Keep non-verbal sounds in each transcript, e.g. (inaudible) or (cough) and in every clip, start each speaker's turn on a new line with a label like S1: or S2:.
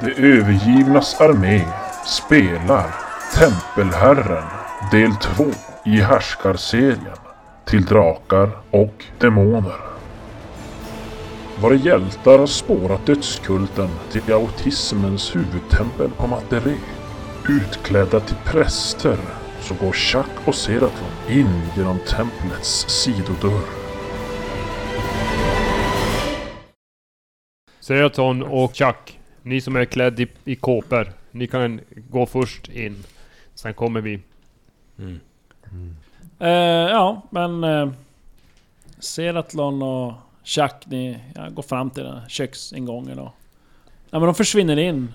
S1: De övergivnas armé spelar Tempelherren del 2 i härskarserien till drakar och demoner. Våra hjältar har spårat dödskulten till autismens huvudtempel på Materé. Utklädda till präster så går Chuck och Seratlon in genom templets sidodörr.
S2: Seraton och Chuck, ni som är klädda i, i kåpor, ni kan gå först in. Sen kommer vi.
S3: Eh, ja, men... Eh, Seratlon och Chuck, ni ja, går fram till den här köksingången och... Ja men de försvinner in.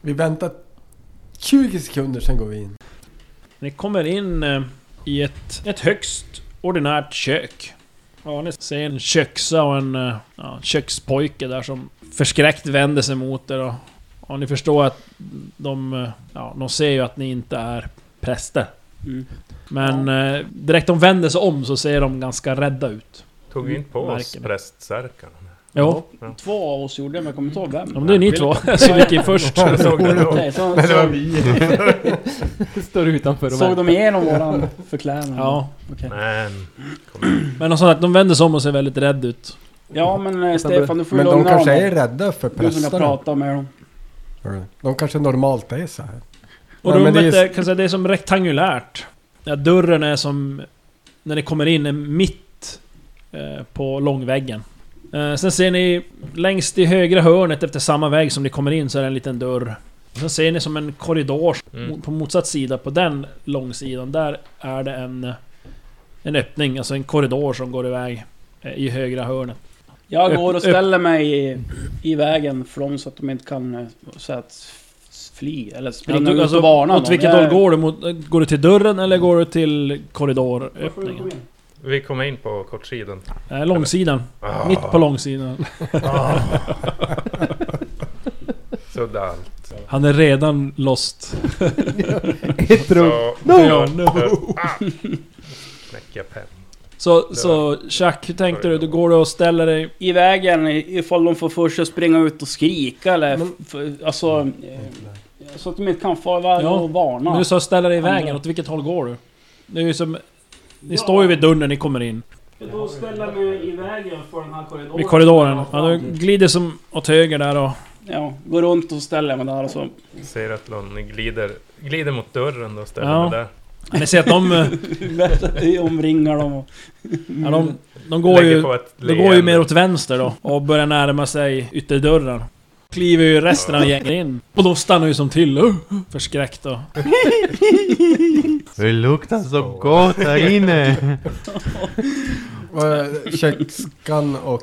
S4: Vi väntar 20 sekunder, sen går vi in.
S3: Ni kommer in eh, i ett, ett högst ordinärt kök. Ja, ni ser en köksa och en eh, ja, kökspojke där som förskräckt vänder sig mot er och... Ja, ni förstår att de... eh, Ja, de ser ju att ni inte är präster. Men eh, direkt de vänder sig om så ser de ganska rädda ut.
S5: Tog vi inte på oss
S3: Märker det.
S5: prästsärkan?
S3: Jo,
S6: Två av oss gjorde det, men jag kommer inte ihåg vem.
S3: ja, men det är ni två (laughs) som gick in först.
S5: Jag såg det då.
S6: Nej, så,
S4: Nej, det var
S6: så,
S4: vi.
S7: Står utanför och
S6: såg de igenom våran förklädnad?
S3: Ja,
S6: Okej.
S5: Men...
S3: men de, sa att de vänder sig om och ser väldigt rädda ut.
S6: ja men eh, Stefan, du får
S4: Men
S6: ju
S4: de
S6: lugna
S4: kanske
S6: dem.
S4: är rädda för
S6: Du som jag
S4: prästerna.
S6: pratar med dem.
S4: De kanske normalt är så här.
S3: Och
S4: Nej, men
S3: rummet
S4: det är
S3: är,
S4: just-
S3: kan jag säga, det är som rektangulärt. Ja, dörren är som, när ni kommer in, är mitt eh, på långväggen. Eh, sen ser ni längst i högra hörnet efter samma väg som ni kommer in så är det en liten dörr. Och sen ser ni som en korridor
S5: Mm.
S3: på motsatt sida, på den långsidan, där är det en, en öppning, alltså en korridor som går iväg eh, i högra hörnet.
S6: Jag
S3: Upp-
S6: går
S3: upp.
S6: och ställer mig i, i vägen för dem så att de inte kan eh, så att s- fly eller springa
S3: du-
S6: ut
S3: alltså,
S6: och varna
S3: Åt vilket håll går du? Mot, går du till dörren eller går du till korridoröppningen?
S5: Vi kom in på kortsidan.
S3: Eh, långsidan.
S5: Ah,
S3: Mitt på långsidan.
S5: (laughs) Sudda allt.
S3: Han är redan lost.
S7: Ett rum.
S5: Så...
S7: No,
S5: Ah. Knäcka penn.
S3: Så, så Chuck, hur tänkte du? Du går och ställer dig...
S6: I vägen i- ifall de får för sig att springa ut och skrika eller f- f- alltså... eh, Så att de inte kan fara iväg
S3: Ja,
S6: och varna.
S3: Men du sa ställa dig i vägen,
S6: Andra.
S3: åt vilket håll går du? Det är ju som... Ni står ju vid dörren när ni kommer in.
S6: Då ställer jag mig i vägen för den här korridoren.
S3: Vid korridoren. Ja, du glider som åt höger där och...
S6: Ja, går runt och ställer mig där och så...
S5: Ser att Lonny glider, glider mot dörren då och ställer
S3: Ja.
S5: mig där.
S3: Ni ser att de... eh,
S6: omringar dem och...
S3: Ja, de, de går
S5: Lägger
S3: ju...
S5: på ett
S3: De går ju
S5: leende.
S3: mer åt vänster då och börjar närma sig ytterdörren. Kliver ju resten av gänget in. Och de stannar ju som till. Uh, Förskräckt då.
S8: Det luktar så gott här inne!
S4: Vad- eh, Kökskan och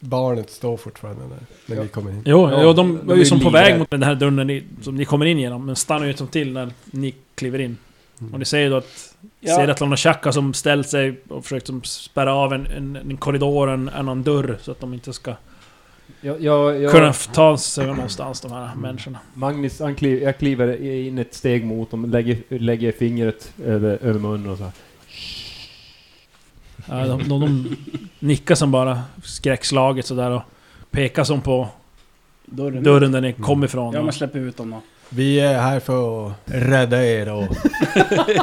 S4: barnet står fortfarande där. När vi kommer in.
S3: Jo,
S4: Ja,
S3: jo de
S4: de
S3: var
S4: är
S3: ju som på
S4: livrädda.
S3: väg mot den här dörren ni, som ni kommer in genom, men stannar ju som till när ni kliver in.
S4: Mm.
S3: Och ni ser ju då att
S6: Ja.
S3: Seratlon och Chaka som ställt sig och försökt som spärra av en, en, en korridor, en annan dörr, så att de inte ska
S7: Jag, jag, jag,
S3: kunna f- ta sig någonstans de här människorna.
S7: Magnus, han kliv, jag kliver in ett steg mot dem, lägger, lägger fingret över, över munnen och så här.
S3: Ja, de, de, de nickar som bara skräckslaget sådär och pekar som på
S6: Dörren.
S3: Mm. dörren där ni kom ifrån.
S6: Mm. Ja,
S3: Och-
S6: men släpp ut dem då.
S4: Vi är här för att rädda er och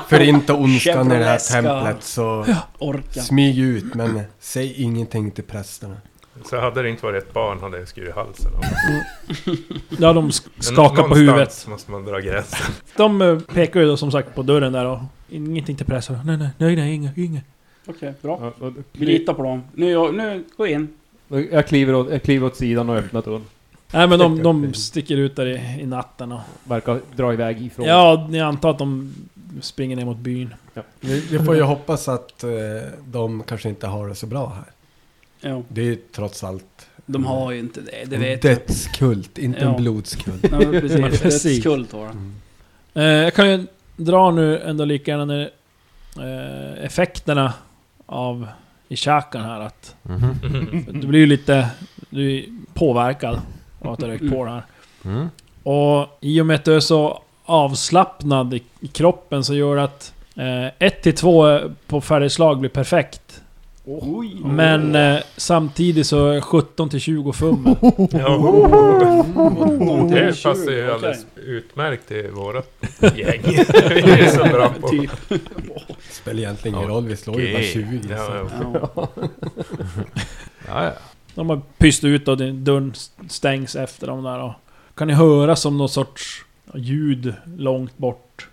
S6: (laughs)
S4: förinta ondskan i det här
S6: Kämpa läska.
S4: templet. Så
S6: Orka.
S4: smyg ut men säg ingenting till prästerna.
S5: Så hade det inte varit ett barn hade jag skurit halsen av.
S3: Ja, de sk-
S5: Men
S3: skakar på
S5: någonstans
S3: huvudet.
S5: måste man
S3: (laughs)
S5: dra gränsen.
S3: De eh, pekar ju då som sagt på dörren där och ingenting till press. Nej, nej, nej, nej, inga, inga.
S6: Okej, bra.
S7: Ja, och-
S6: Vi litar på dem. Nu, nu, gå in.
S7: Jag kliver, åt, jag kliver åt sidan och öppnar dörren.
S3: Nej men de, de sticker ut där i, i natten och...
S7: Verkar dra iväg ifrån.
S3: Ja, ni antar att de springer ner mot byn.
S4: Vi, vi får ju hoppas att eh, de kanske inte har det så bra här.
S6: Ja,
S4: Det är ju trots allt
S6: de har ju inte det, det
S4: en
S6: vet jag.
S4: dödskult, inte
S6: Ja.
S4: en blodskult. Mm.
S6: Nej, men precis.
S3: Precis.
S6: Det är ett skuld då. då.
S3: Eh, jag kan ju dra nu ändå lika gärna när, eh, effekterna av Ishakan här att...
S8: Mhm.
S5: Mm-hmm.
S7: Mm.
S5: Mm.
S3: Du blir ju lite... Du är ju påverkad av att du rökt på det här.
S8: Mm.
S3: Och i och med att du är så avslappnad i, i kroppen så gör det att... Eh, 1-2 på färdigslag blir perfekt.
S6: Oj.
S3: Men eh, samtidigt så är 17 till 20 fummel.
S6: (laughs) Mm-hmm.
S5: Det passar ju alldeles utmärkt till vårat gäng. Vi är så bra på...
S6: Typ.
S4: Spelar egentligen ingen roll, vi slår ju bara 20.
S5: Ja,
S4: så.
S5: ja.
S6: Ja.
S8: Ja, ja.
S3: De har pyst ut och din dörren stängs efter dem där. Och kan ni höra som någon sorts ljud långt bort.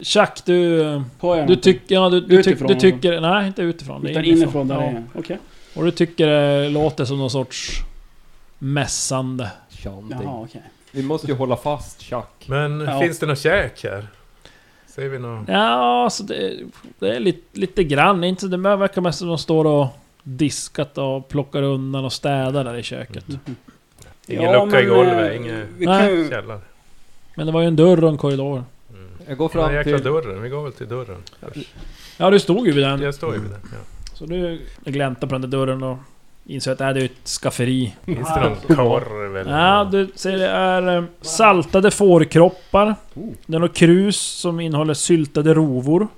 S3: Tjack, du...
S6: På er.
S3: Du, tyck, ja, du, du, tyck,
S6: Utifrån,
S3: du tycker... Nej, inte utifrån. det är
S6: Utan inifrån där
S3: Ja.
S6: är jag. Okej.
S3: Och du tycker det låter som någon sorts mässande.
S7: Chanting.
S6: Jaha, okej.
S7: Vi måste ju hålla fast Chuck.
S5: Men
S6: Ja.
S5: finns det något käk här? Ser vi något?
S3: Ja, så det, det är lite, lite grann. Inte, det verkar mest som de står och diskat och plockar undan och städar där i köket.
S5: Ingen
S6: Ja,
S5: lucka i
S6: men,
S5: golvet,
S6: eh,
S5: ingen
S6: Vi kan ju...
S5: källare.
S3: Men det var ju en dörr och en korridor.
S7: Jag går
S5: Den
S7: fram
S5: jäkla
S7: till...
S5: dörren, vi går väl till dörren.
S3: Ja, du stod ju vid den.
S5: Jag står ju vid den. Ja.
S3: Så du gläntar på den där dörren och inser att äh, det här är ju ett skafferi.
S5: Finns det någon korv eller?
S3: Ja,
S5: något?
S3: du ser det är eh, saltade fårkroppar. Det är något krus som innehåller syltade rovor.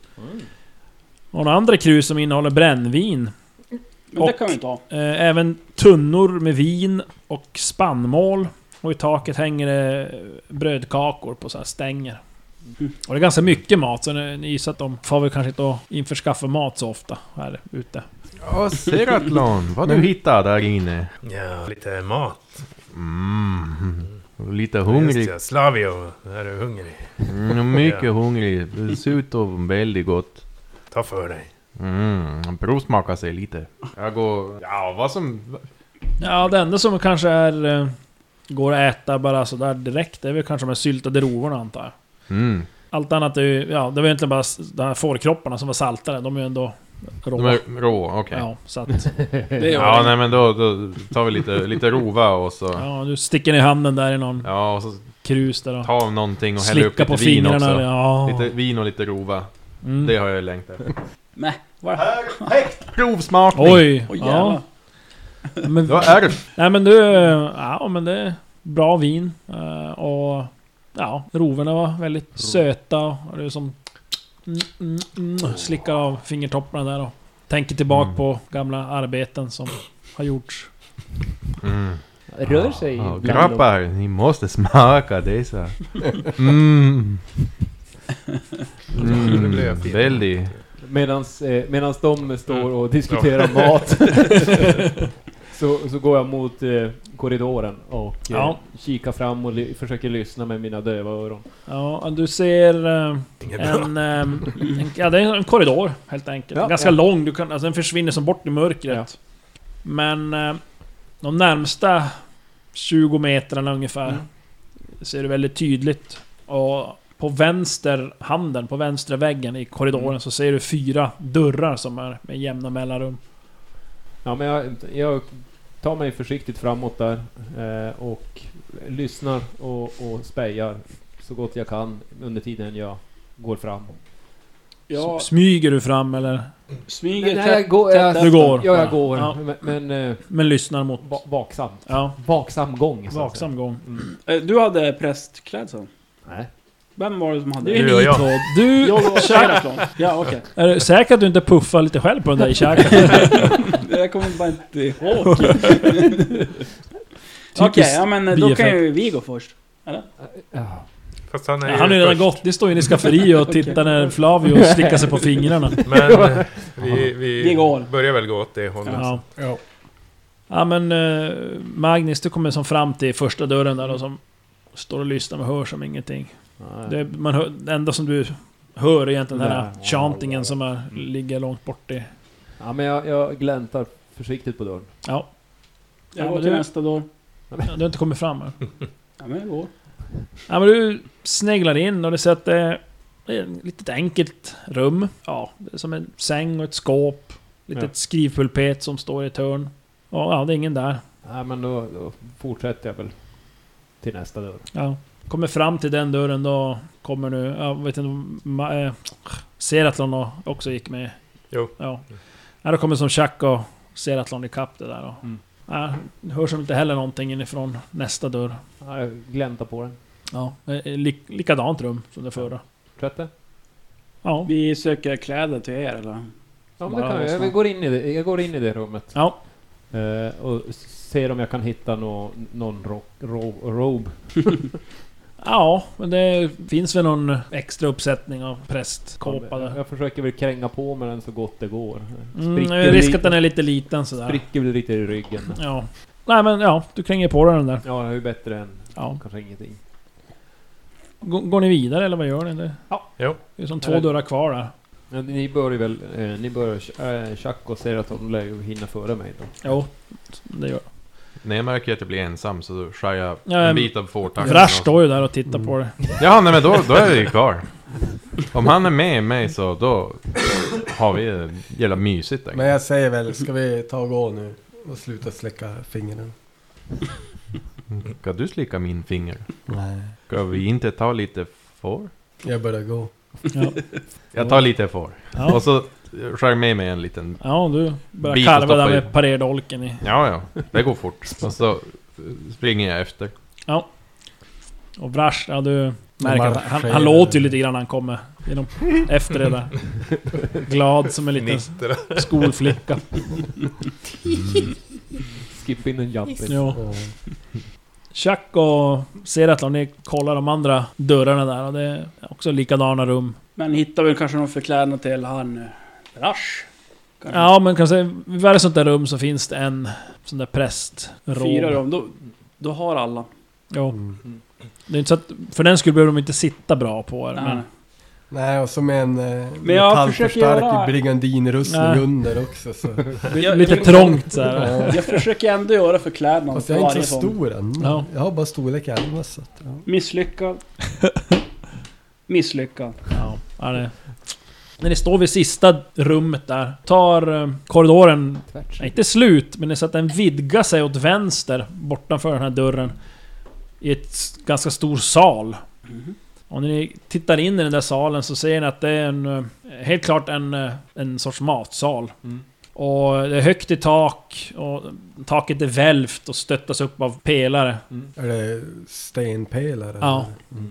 S3: Och några andra krus som innehåller brännvin.
S6: Men det
S3: Och-
S6: kan vi inte ha.
S3: Eh, Även tunnor med vin och spannmål. Och i taket hänger det brödkakor på så här stänger. Och det är ganska mycket mat, så ni ni gissar att de får väl kanske inte att införskaffa mat så ofta här ute.
S8: Ja, Seratlon, vad
S7: Mm.
S8: du hittar där inne?
S5: Ja, lite mat.
S8: Mm. Lite
S5: Just
S8: hungrig.
S5: det, Slavio. Är du hungrig?
S8: Mm,
S5: Ja.
S8: mycket hungrig. Dessutom väldigt gott.
S5: Ta för dig.
S8: Mm, provsmaka sig lite. Jag går... Ja, vad som...
S3: Ja, det enda som kanske är... eh, Går att äta bara sådär direkt, det är väl kanske de här syltade rovorna antar jag.
S8: Mm.
S3: Allt annat är ju... Ja, det var egentligen bara s- de här fårkropparna som var saltade, de är ju ändå råa.
S8: De är rå, okej.
S3: Ja, så att...
S6: Det gör
S8: Ja,
S6: vi.
S8: nej men då, då tar vi lite, lite rova och så...
S3: Ja, du sticker ner handen där i någon
S8: Ja, och så
S3: krus där och...
S8: ta någonting och hälla upp
S3: Slicka
S8: lite
S3: på
S8: vin
S3: fingrarna.
S8: också.
S3: Ja.
S8: Lite vin och lite rova.
S3: Mm.
S8: Det har jag längtat efter.
S6: Nej, vad är det?
S8: Provsmakning!
S3: Oj!
S6: Oj,
S3: ja.
S6: jävlar.
S3: Men,
S8: Det var ärv!
S3: nej men du... Ja men det är bra vin. eh, Och... Ja, roverna var väldigt söta. Och det är som... Mm, mm, mm, slickar av fingertopparna där och tänker tillbaka på gamla arbeten som har gjorts.
S8: Mm.
S9: Rör sig
S8: Ja,
S9: bland dem.
S8: grabbar, ni måste smaka dessa. (laughs) Mm.
S5: Nu
S8: Mm,
S5: blev jag fin.
S8: väldigt.
S7: Medans, eh, medans de står och diskuterar mat. så, så går jag mot eh, korridoren och eh,
S3: Ja.
S7: kikar fram och ly- försöker lyssna med mina döva öron.
S3: Ja, och du ser... eh,
S5: Inget bra.
S3: En, ehm, en, ja, det är en korridor helt enkelt.
S7: Ja,
S3: Ganska
S7: ja.
S3: lång, du kan, alltså, den försvinner som bort i mörkret. Men eh, de närmsta 20 metrarna ungefär ser du väldigt tydligt. Och på vänster handen, på vänstra väggen i korridoren så ser du fyra dörrar som är med jämna mellanrum.
S7: Ja, men jag, jag tar mig försiktigt framåt där eh, och lyssnar och, och spejar så gott jag kan under tiden jag går fram.
S6: Jag
S3: S- Smyger du fram eller?
S6: smyger
S7: Nej, nej, jag går,
S6: tätt
S7: jag,
S6: efter.
S3: Du går.
S7: Ja, jag går.
S3: Ja.
S7: Men, men eh,
S3: Men lyssnar mot...
S7: va- vaksam.
S3: Ja,
S7: Vaksam gång. så att
S3: vaksam gång.
S6: Eh, Du hade prästklädsel?
S7: Nej.
S6: Vem var det som hade
S3: Det är
S6: det?
S5: Du och jag.
S3: nitlåd. Du...
S6: Jag och Seratlon. Ja, okej.
S3: Är du säker att du inte puffar lite själv på den där i käken? (laughs)
S6: Jag kommer bara inte ihåg. (laughs) Okej, ja men eh, då
S3: bieffekt.
S6: kan ju vi gå först.
S7: säga. Ja.
S5: Fast han är
S3: Ja, han är ju redan
S5: först.
S3: gått. Det står inne i skafferiet och tittar när Flavio slickar sig på fingrarna.
S5: Men
S8: (laughs)
S5: eh, vi,
S6: Vi
S5: vi
S6: går.
S5: börjar väl gå åt det
S3: (laughs)
S5: hållet.
S3: Ja.
S4: Ja.
S3: ja men eh, Magnus, du kommer som fram till första dörren där och som står och lyssnar men hör som ingenting. Det, man hör, det enda som du hör är egentligen den här
S7: Nej.
S3: chantingen som är, ligger långt bort i...
S7: Ja, men jag, jag gläntar försiktigt på dörren.
S3: Ja.
S6: Jag
S3: Ja,
S6: går
S3: men
S6: till
S3: du-
S6: nästa dörr.
S3: Ja, Du har inte kommit fram än.
S6: Ja men jag går.
S3: Ja, men du sneglar in och du ser att det är ett litet enkelt rum. Ja, det är som en säng och ett skåp. Litet
S7: Ja.
S3: skrivpulpet som står i ett hörn. Och, ja, det är ingen där.
S7: Nej, men då, då fortsätter jag väl till nästa dörr.
S3: Ja. Kommer fram till den dörren då kommer du... Jag vet inte om... Ma- eh, Seratlon och- också gick med.
S5: Jo.
S3: Ja. ja då kommer som Chuck och Seratlon ikapp det där och,
S7: Mm.
S3: ja, Hörs som inte heller någonting inifrån nästa dörr.
S7: Ja, jag gläntar på den.
S3: Ja, eh, lik, likadant rum som det förra.
S7: Fortsätter.
S3: Ja.
S6: Vi söker kläder till er eller?
S7: Ja, men
S3: Bara
S7: det kan jag.
S3: lyssna.
S7: Jag går in i det, jag går in i det rummet.
S3: Ja.
S7: Eh, och ser om jag kan hitta nå, någon rock, ro, robe.
S3: Ja, men det finns väl någon extra uppsättning av prästkåpa där.
S7: Jag försöker väl kränga på med den så gott det går.
S3: Mm, det
S7: väl
S3: är risk
S7: lite-
S3: att den är lite liten sådär.
S7: spricker väl lite i ryggen.
S3: Ja. Nej men ja, du kränger på dig den där.
S7: Ja, jag är ju bättre än
S3: Ja.
S7: kanske ingenting.
S3: Går, går ni vidare eller vad gör ni? Det-
S7: Ja.
S5: Jo.
S3: Det är som två
S7: Eller-
S3: dörrar kvar där.
S7: Men ni börjar väl... Eh, ni börjar... Eh, Chuck och säger att de lär ju hinna före mig då.
S3: Jo, det gör
S8: När jag märker att jag blir ensam så skär jag
S3: Ja, men-
S8: en bit av fårtacken.
S3: Vrash står ju där och tittar på det.
S8: Ja, nej men då, då är jag ju kvar. Om han är med mig så då har vi det jävla mysigt. där.
S4: Men jag säger väl, ska vi ta och gå nu? Och sluta släcka fingrarna.
S8: Ska du slicka min finger?
S4: Nej.
S8: Ska vi inte ta lite får?
S4: Jag börjar gå.
S8: Jag tar lite får.
S3: Ja,
S8: Och så skär jag med mig en liten...
S3: ja du börjar
S8: Bit och
S3: karva där
S8: stoppa i.
S3: med parerdolken i.
S8: Ja, ja. Det går fort. Och så springer jag efter.
S3: Och Vrash, ja du märker att han, han
S4: marscherar.
S3: låter ju lite grann när han kommer. Genom, efter det där. Glad som en liten
S5: Nittra.
S3: skolflicka.
S7: Skip in en jump. in.
S3: Jo. Chuck och Seratlon, ni kollar de andra dörrarna där och det är också likadana rum.
S6: Men hittar väl kanske någon förklädnad till han... eh, Rasch? Kanske.
S3: Ja men kan säga, i varje sånt där rum så finns det en sån där prästrob.
S6: Fyra rum, då, då har alla.
S3: Jo. Det är inte så att, för den skulle behöver de inte sitta bra på er.
S6: Nej,
S3: Men,
S6: nej.
S4: Nej, och så med en eh,
S6: Men jag försöker göra-
S4: metallförstärkt brigandinrustning
S3: Nej.
S4: under också så...
S6: Jag-
S3: Lite
S6: jag-
S3: trångt (laughs) så här.
S4: Ja.
S6: Jag försöker ändå göra förklädnad
S4: Fast
S6: för
S4: jag är inte
S6: varje sån.
S4: så stor än.
S3: Ja.
S4: Jag har bara storlek 11 så att, ja.
S6: Misslyckad. Misslyckad.
S3: Ja, ja det. När ni står vid sista rummet där, tar eh, korridoren,
S7: Tvärs.
S3: nej, inte slut, men det är så att den vidgar sig åt vänster bortanför den här dörren. I ett s- ganska stor sal. Och när ni tittar in i den där salen så ser ni att det är en, eh, helt klart en, eh, en sorts matsal.
S7: Mm.
S3: Och det är högt i tak, och taket är välvt och stöttas upp av pelare.
S4: Är det stenpelare?
S3: Ja.
S4: eller?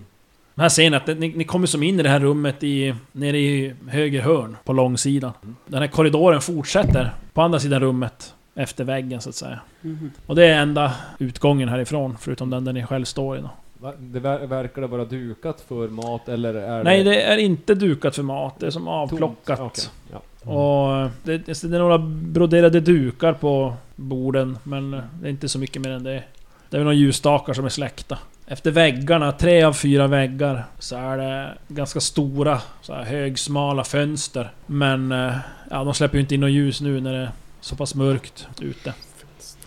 S3: Men här ser ni att det- ni, ni kommer som in i det här rummet i, nere i höger hörn på långsidan. Den här korridoren fortsätter på andra sidan rummet. Efter väggen så att säga.
S6: Mhm.
S3: Och det är enda utgången härifrån, förutom den där ni själv står i då.
S7: Va? Det ver verkar det vara dukat för mat eller är
S3: Nej,
S7: det...
S3: det är inte dukat för mat. Det är som
S7: tomt?
S3: avplockat.
S7: Okej, ja. Mm.
S3: Och eh, det, det är några broderade dukar på borden, men eh, det är inte så mycket mer än det. Det är väl några ljusstakar som är släckta. Efter väggarna, tre av fyra väggar, så är det ganska stora, så här högsmala fönster. Men eh, ja, de släpper ju inte in något ljus nu när det är så pass mörkt ute.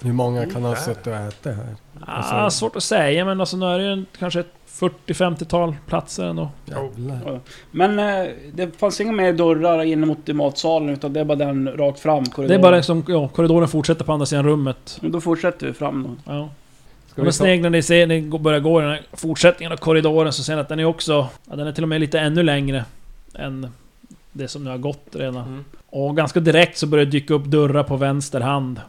S4: Hur många kan ha suttit och ätit här?
S7: Alltså-
S3: Ah, svårt att säga, men alltså nu är det ju en- kanske ett 40-50-tal platser ändå.
S5: Oh.
S4: Jävlar.
S6: Men eh, det fanns inga mer dörrar in mot i matsalen utan det är bara den rakt fram
S3: Det är
S6: korridoren.
S3: bara liksom, ja, korridoren fortsätter på andra sidan rummet.
S6: Men Då fortsätter vi fram då.
S3: Ja.
S7: Ska
S3: Ja, men
S7: vi ta...
S3: sneglar ni ser, ni går- börjar gå i den här fortsättningen av korridoren så ser ni att den är också... Ja, den är till och med lite ännu längre än det som nu har gått redan.
S7: Mm.
S3: Och ganska direkt så börjar det dyka upp dörrar på vänster hand.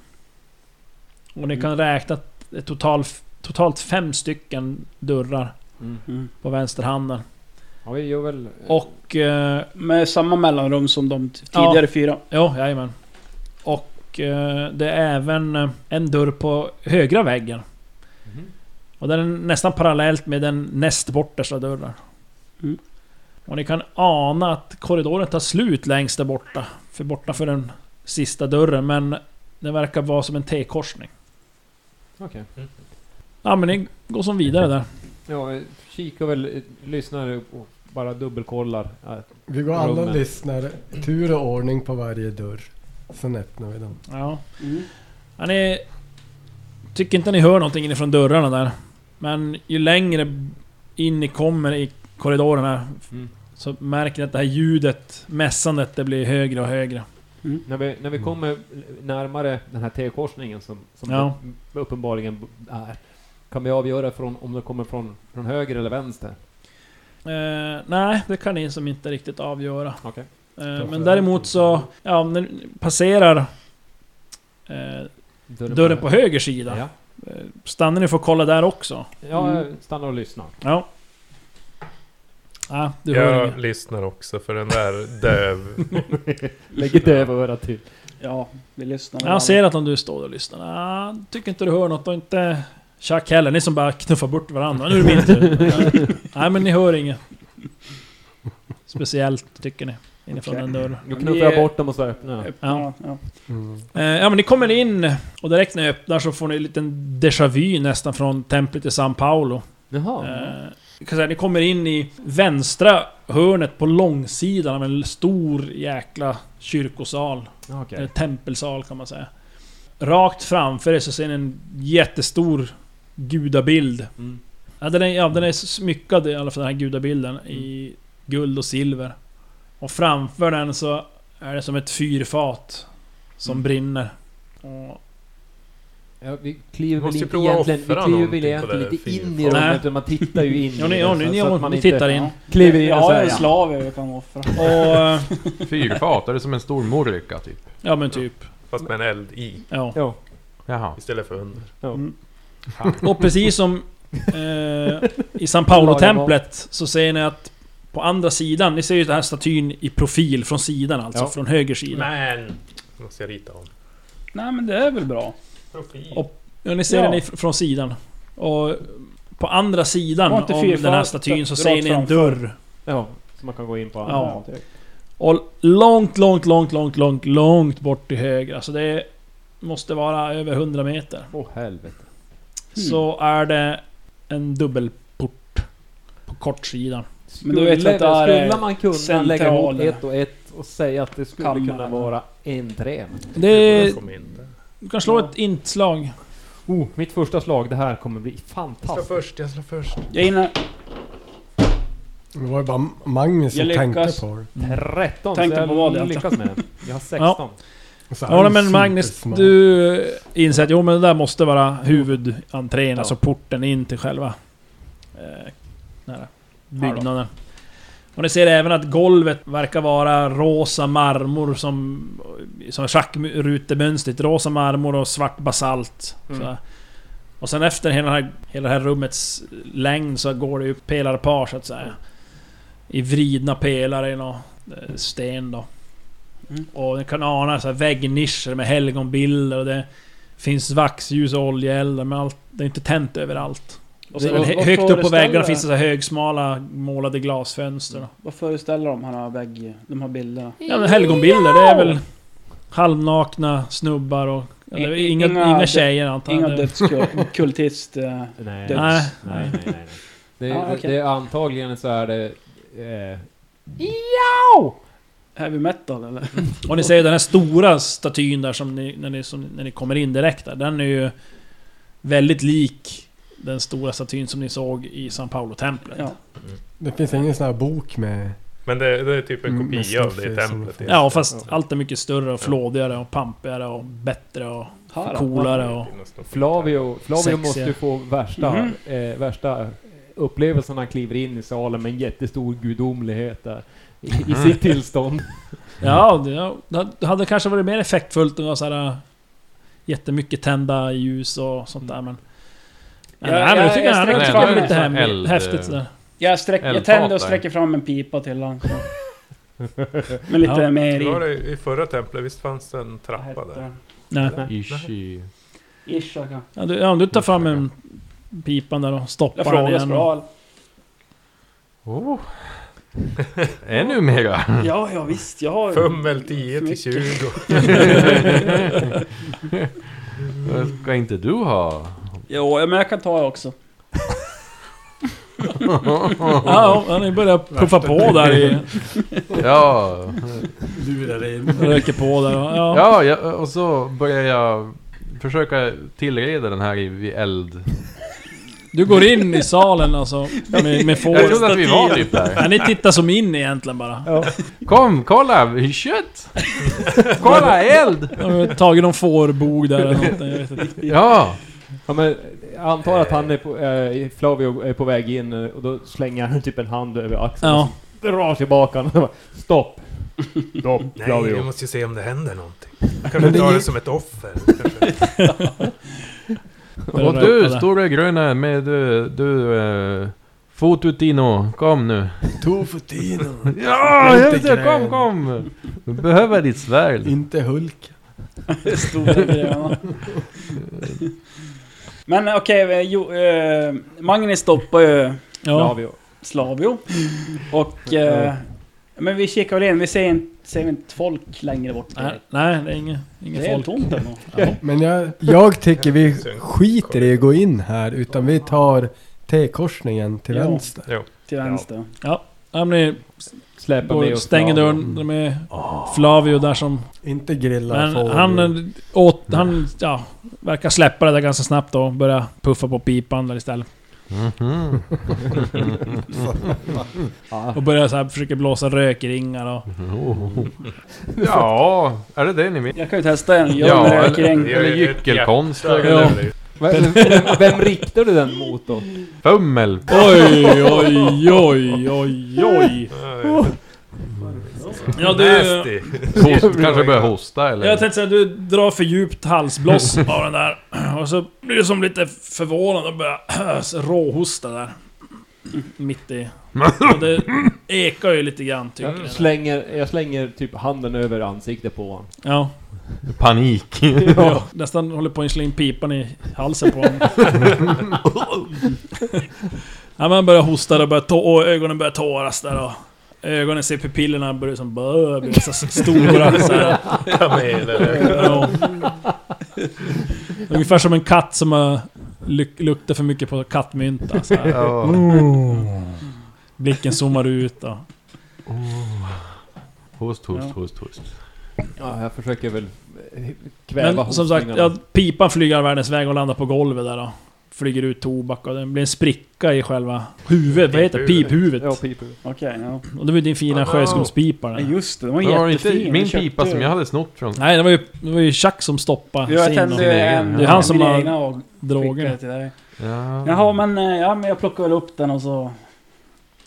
S3: Och
S7: Mm.
S3: ni kan räkna att det är total, totalt fem stycken dörrar
S7: Mm.
S3: på vänster handen.
S7: Ja, vi gör väl... eh,
S3: Och... Eh,
S6: Med samma mellanrum som de t-
S3: Ja.
S6: tidigare fyra.
S3: ja, jajamän. Och eh, det är även eh, en dörr på högra väggen.
S7: Mhm.
S3: Och den är nästan parallellt med den näst bortersta dörren.
S6: Mm.
S3: Och ni kan ana att korridoren tar slut längst där borta. För borta för den sista dörren, men den verkar vara som en T-korsning.
S7: Okej.
S3: Ja men ni går som vidare där.
S7: Ja, eh, kika väl, eh, lyssnar och bara dubbelkollar. eh,
S4: Vi går alla och
S7: Rummen.
S4: lyssnar, tur och ordning på varje dörr. Sen öppnar vi dem.
S3: Ja.
S6: Mm.
S3: Ja, ni tycker inte ni hör någonting inifrån dörrarna där. Men ju längre in ni kommer i korridoren här
S7: Mm.
S3: så märker ni att det här ljudet, mässandet, det blir högre och högre.
S7: När vi, när vi kommer närmare den här T-korsningen som, som
S3: Ja.
S7: det uppenbarligen är. Kan vi avgöra från, om det kommer från, från höger eller vänster?
S3: Eh, nej, det kan ni som inte riktigt avgöra.
S7: Okej.
S3: Eh, men däremot så, ja, när ni passerar eh, dörren på höger Mm. sida.
S7: Ja.
S3: Stannar ni för att kolla där också?
S7: ja, jag stannar och lyssnar.
S3: Ja. Nej, du hör
S5: Jag
S3: inget.
S5: lyssnar också för den där döv...
S7: (laughs) Lägg ett dövörat till.
S6: Ja, vi lyssnar.
S3: Han ser att om du står och lyssnar. Nej, han tycker inte du hör något och inte Chuck heller. Ni som bara knuffar bort varandra. Nu är det min tur. Nej men ni hör inget. Speciellt tycker ni. Inifrån
S6: Okej.
S3: den dörren.
S7: Nu knuffar jag bort dem och så öppnar jag.
S6: Ja, ja.
S3: Eh, Ja men ni kommer in och direkt när ni öppnar så får ni en liten déjà vu nästan från templet i San Paolo.
S7: Jaha.
S3: Eh, jag kan säga, ni kommer in i vänstra hörnet på långsidan av en stor jäkla kyrkosal. Eller
S7: Okej.
S3: tempelsal kan man säga. Rakt framför er så ser ni en jättestor gudabild.
S7: Mm.
S3: Ja, den, är, ja, den är smyckad i alla fall den här gudabilden
S7: Mm.
S3: i guld och silver. Och framför den så är det som ett fyrfat som
S7: Mm.
S3: brinner. Och,
S7: Ja, vi kliver
S5: Vi måste
S7: väl
S5: ju
S7: inte
S5: prova
S7: egentligen, vi
S5: offra
S7: kliver väl
S5: någonting på
S7: egentligen
S5: det där
S7: lite in i
S5: fyrfallet.
S3: Nej.
S7: rummet, utan man tittar ju in
S3: ja, ni,
S7: i
S3: ja,
S7: det,
S3: ni,
S7: så-
S3: ni,
S7: så att man
S3: ni
S7: inte-
S3: tittar in.
S6: Ja.
S7: Kliver in
S6: Jag
S7: och så
S6: har
S7: här,
S6: en
S7: ja.
S6: slav jag kan offra.
S3: Och... eh,
S8: Fyrfat, är det som en stor morika typ?
S3: Ja men typ.
S5: Fast med en eld i.
S3: Ja.
S7: Ja.
S8: Jaha.
S5: Istället för under.
S3: Och precis som eh, i San Paolo-templet så ser ni att på andra sidan, ni ser ju den här statyn i profil från sidan alltså,
S7: Ja.
S3: från höger sida.
S5: Men! Måste jag rita om.
S6: Nej men det är väl bra.
S5: Profil.
S3: Och- Ja, ni ser
S6: Ja.
S3: den ifr- från sidan. Och på andra sidan
S6: Var inte
S3: av
S6: fyrfaldigt
S3: den här statyn så
S6: rakt
S3: ser ni en
S6: framför?
S3: dörr.
S7: Ja, så man kan gå in på andra
S3: Ja.
S7: ja.
S3: Och långt, långt, långt, långt, långt, långt bort till höger. Alltså det måste vara över 100 meter.
S7: Åh helvete.
S6: Hmm.
S3: Så är det en dubbelport på kortsidan.
S6: Men du vet
S7: Skulle-
S6: att det här är
S7: Skulle man kunna
S6: central-
S7: lägga ihop ett och ett och säga att det skulle
S6: Kammaren.
S7: kunna vara en trän?
S3: Det,
S5: Kom in där.
S3: du kan slå ett inslag.
S7: Oh, mitt första slag, det här kommer bli
S5: Jag slår
S7: fantastiskt.
S5: först, jag slår först.
S6: Jag gillar...
S4: Det var ju bara Magnus som
S6: Jag
S4: tänkte
S6: lyckas.
S4: på det.
S7: 13,
S6: Tänkte
S7: så jag
S6: på vad jag
S7: lyckas med den. Jag har 16.
S3: Ja.
S4: Så han
S3: Ja
S4: är
S3: men Magnus,
S4: supersmart.
S3: du inser att jo men det där måste vara huvudentrén, alltså porten in till själva eh, nära byggnaden. Och ni ser även att golvet verkar vara rosa marmor som... Som schackrutemönstrigt. Rosa marmor och svart basalt.
S7: Mm.
S3: Så. Och sen efter hela, den här, hela det här rummets längd så går det ju pelarpar så att säga. I vridna pelare i någon eh, sten då.
S6: Mm.
S3: Och ni kan ana så här väggnischer med helgonbilder och det finns vaxljus och oljeeldar men allt, det är inte tänt överallt. Och sen
S6: Vad-
S3: hö-
S6: vad
S3: högt upp på
S6: föreställer
S3: väggarna
S6: det?
S3: finns det så här högsmala målade glasfönster. då.
S6: Vad föreställer de här vägg... De här bilderna?
S3: Ja men helgonbilder, det är väl halvnakna snubbar och... Ja, det är inga,
S6: Inga-
S3: inga tjejer antar jag.
S6: Inga
S3: Det- (laughs)
S6: dödskultist... eh,
S7: Nej.
S6: Döds.
S7: nej,
S3: Nej.
S7: nej, nej, nej. (laughs) Det,
S6: Ah,
S7: det-
S6: okej.
S7: det är antagligen så är det... Eh,
S6: heavy metal eller?
S3: Och ni ser ju den här stora statyn där som ni, när, ni, som, när ni kommer in direkt där, den är ju väldigt lik den stora statyn som ni såg i San Paolo-templet.
S6: Ja.
S3: Ja.
S4: Det finns ingen sån här bok med...
S5: Men det, det är typ en
S4: Mm, med
S5: kopia av det i
S4: stoffet som-
S5: templet.
S4: Ja.
S3: fast allt är mycket större och flådigare och pampigare och bättre och
S6: Här,
S3: coolare och...
S7: Flavio, Flavio
S3: Sexiga.
S7: måste ju få värsta,
S6: Mhm.
S7: eh, värsta upplevelsen när han kliver in i salen med en jättestor gudomlighet där. I, i
S3: Mhm.
S7: sitt tillstånd.
S3: Ja, det- ja, det hade kanske varit mer effektfullt om det var så här äh, Jättemycket tända ljus och sånt där men... Men,
S6: Ja,
S3: nej, men
S6: jag-
S3: jag tycker
S6: jag
S3: han
S6: sträcker
S3: är
S6: fram
S3: lite
S8: en sån här
S3: hem,
S8: eld-
S3: häftigt eh. sådär.
S6: Jag, sträck, jag
S8: Eldfatar.
S6: tänder och sträcker fram en pipa till honom. Med lite
S3: Ja.
S6: mer
S5: Det var
S6: i.
S5: det i förra templet, visst fanns det en trappa där?
S3: Nej.
S8: Ishi.
S6: Ishaka.
S3: Ja, du, ja, om du tar fram en pipan där och
S6: Jag
S3: stoppar den
S6: frågar
S3: igen. Och,
S6: Skral.
S8: Oh. Ännu mera.
S6: Ja, ja visst. Jag har...
S5: (laughs) Fummel 10 till
S6: Mycket.
S5: 20.
S8: Vad Ska inte du ha?
S6: Jo, men jag kan ta också.
S3: ja, ja, ni börjar puffa på där i...
S8: Ja.
S3: Röker på där och, ja.
S8: Ja, jag, och så börjar jag försöka tillreda den här i- vid eld.
S3: Du går in i salen alltså med, med
S8: Jag trodde
S3: får.
S8: att vi var typ där.
S3: Ja, ni tittar som in egentligen bara.
S8: Kom, kolla! (laughs) Kött! Kolla, eld!
S3: De har tagit någon fårbog där eller någonting. Jag vet inte.
S8: Ja!
S7: Ja, men, jag antar att han är på, eh, Flavio är på väg in eh, och då slänger han typ en hand över axeln
S3: Ja.
S7: och drar tillbaka honom. (laughs) Stopp! Stopp
S5: Nej, vi måste ju se om det händer någonting. Kan du dra det som ett offer? Kanske.
S3: börjar
S8: Och du,
S3: röka där.
S8: stora gröna med du... du eh, Fotutino, kom nu.
S4: Tofutino.
S8: Ja,
S4: Inte
S8: just det, kom,
S4: gräv.
S8: kom! Du behöver ditt svärd.
S4: Inte Hulk.
S6: Stora gröna. Men okej, eh, jo, eh, Magnus stoppar ju
S3: Ja.
S7: Flavio.
S6: Slavio. Och... Eh, men vi kikar väl in, vi ser, in, ser inte folk längre bort.
S3: Nej, nej, det är inget, inget
S6: det är
S3: folk.
S6: tomt ändå.
S4: Men jag, jag tycker vi skiter i att gå in här utan vi tar T-korsningen till
S6: Ja.
S4: vänster.
S6: Till vänster.
S3: Ja, men ni
S7: Släpa
S3: går,
S7: med oss
S3: stänger
S7: Flavio.
S3: dörren. De är Flavio där som...
S4: Inte grilla
S3: Men
S4: fågel.
S3: han, eh, åt, han ja, verkar släppa det där ganska snabbt då. Börja puffa på pipan där istället.
S8: Mhm.
S3: Och börjar så här, försöka blåsa rökringar och...
S8: Oh. Ja, är det det ni vill?
S6: Jag kan ju testa en. Jag
S8: Ja,
S6: ja, röker
S8: eller,
S6: en.
S8: eller gyckelkonst.
S5: Ja.
S7: Vem, vem, vem riktar du den mot (laughs) då?
S8: Fummel.
S3: (laughs) Oj, oj, oj, oj, oj. Ja, du,
S5: Nasty.
S8: Host, kanske börjar hosta eller?
S3: jag tänkte säga du drar för djupt halsbloss av den där. Och så blir du som lite förvånad och börjar (clears throat) råhosta där. Mitt i. Och det ekar ju lite grann tycker
S7: Jag
S3: jag.
S7: slänger, jag slänger typ handen över ansiktet på honom.
S3: Ja,
S8: Panik.
S3: ja. Nästan håller på att slå in pipan i halsen på honom. ja, man börjar hosta och, börjar tå- och ögonen börjar tåras där och... Ögonen ser pupillerna börjar som börjar bli så stora så här.
S5: (laughs) Kameler.
S3: Ja. Ungefär som en katt som har luk- luktar för mycket på kattmynta. Så här. Blicken zoomar ut. Och.
S8: Host,
S6: Ja.
S8: host, host, host.
S7: Ja, jag försöker väl eh, kväva
S3: Men som sagt,
S7: hostningarna.
S3: ja, pipan flyger all världens väg och landar på golvet där då. Flyger ut tobak och det blir en spricka i själva huvudet. Vad heter det? Piphuvudet.
S7: Ja, pipor.
S6: Okpipa. Okej, ja.
S3: Och det var ju din fina sjöskumspipa
S6: ja.
S3: där.
S6: Just det, den var
S8: Det var
S6: jättefin. eh.
S8: inte min
S6: Jag köpte
S8: pipa
S6: ju-
S8: som jag hade snott från.
S3: Nej, det var ju, det var ju Chuck som stoppade
S6: Jag
S3: sin och
S6: tände en...
S3: Det är han som
S6: mina
S3: har
S6: egna och skickade
S3: droger.
S6: till dig.
S8: Ja.
S6: Jaha, men, eh, ja, men jag plockar väl upp den och så...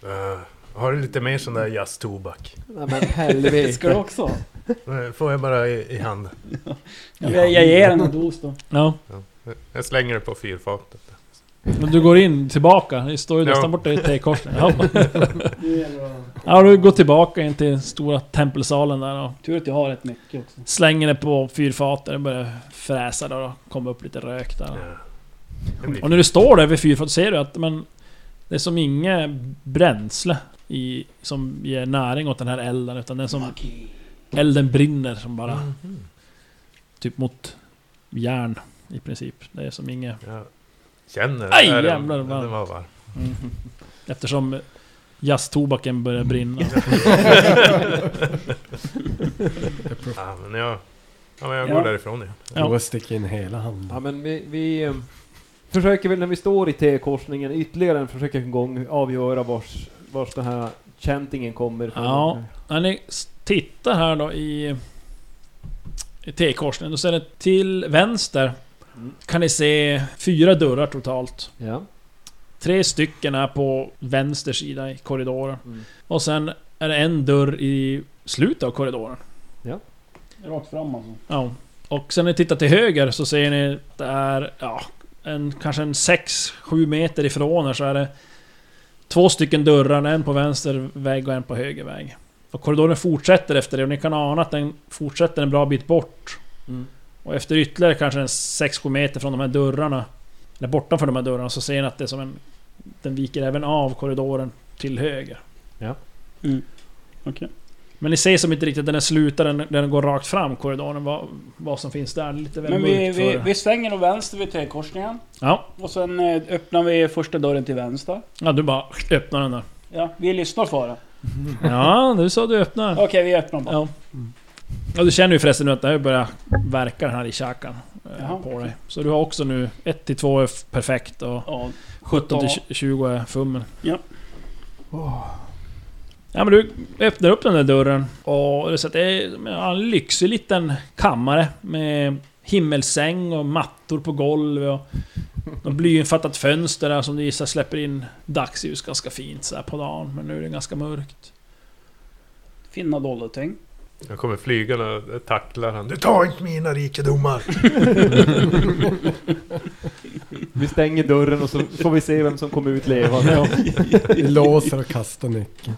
S5: Eh, Har du lite mer sån där jazztobak?
S7: Nej men
S6: Ska du
S7: helvete.
S6: också?
S5: Eh, Får jag bara i, i hand?
S6: Jag, jag ger den en dos då.
S3: Ja.
S5: Jag slänger det på fyrfatet.
S3: Men du går in tillbaka. Det står ju
S5: Ja.
S3: nästan borta i T-korsningen. Ja. Ja, du går tillbaka in till stora tempelsalen där och
S6: Tur att jag har rätt mycket också.
S3: slänger det på fyrfatet och börjar fräsa där och kommer upp lite rök där.
S5: Det blir
S3: Och när du står där vid fyrfatet ser du att men, det är som inget bränsle i, som ger näring åt den här elden utan den som... Elden brinner som bara...
S5: Mhm.
S3: Typ mot järn i princip. Det är som inget...
S5: Jag känner
S3: Aj,
S5: Är den-
S3: jävlar, vad-
S5: den var varm.
S3: Eftersom jazztobaken börjar brinna.
S5: Ja, men jag, ja, men jag
S6: Ja.
S5: går därifrån igen.
S3: Ja.
S4: Då sticker in hela handen.
S7: Ja men vi, vi eh, försöker väl när vi står i T-korsningen ytterligare en försöker en gång avgöra vars, vars den här chantingen kommer ifrån.
S3: Ja. När ni s- tittar här då i, i T-korsningen, då ser ni till vänster
S7: Mm.
S3: kan ni se fyra dörrar totalt.
S7: Ja.
S3: Tre stycken är på vänster sida i korridoren.
S7: Mm.
S3: Och sen är det en dörr i slutet av korridoren.
S6: Rakt fram alltså.
S3: Ja. Och sen när ni tittar till höger så ser ni att det är, ja, en, kanske en 6-7 meter ifrån er så är det två stycken dörrar, en på vänster väg och en på höger väg. Och korridoren fortsätter efter det och ni kan ana att den fortsätter en bra bit bort.
S7: Mm.
S3: Och efter ytterligare kanske en 6-7 meter från de här dörrarna, eller bortanför de här dörrarna, så ser ni att det är som en... Den viker även av korridoren till höger.
S7: Ja.
S6: Mm. Okej.
S3: Men ni ser som inte riktigt när den slutar, den, den går rakt fram korridoren, vad, vad som finns där. Lite väl
S6: Men vi,
S3: mörkt för
S6: vi,
S3: er.
S6: vi svänger åt vänster vid T-korsningen.
S3: Ja.
S6: Och sen eh, öppnar vi första dörren till vänster.
S3: Ja, du bara öppnar den där.
S6: Ja, vi lyssnar för det.
S3: Ja, du sa du öppnar.
S6: Okej, vi öppnar bara.
S3: Ja. ja. Du känner ju förresten nu att det här börjar verka den här i käkan. eh,
S6: Jaha,
S3: på dig. Så du har också nu 1-2 är f- perfekt och
S6: Ja.
S3: 17-20 är fummen.
S6: Ja.
S3: Ja men du öppnar upp den där dörren och du ser att det är ja, en lyxig liten kammare med himmelsäng och mattor på golvet och något blyinfattat fönster där som du gissar släpper in dagsljus ganska fint så här på dagen. Men nu är det ganska mörkt.
S6: Finna dollarting.
S5: Jag kommer flygande och tacklar han. Du tar inte mina rikedomar!
S7: Vi stänger dörren och så får vi se vem som kommer ut levande.
S4: Vi låser och kastar nyckeln.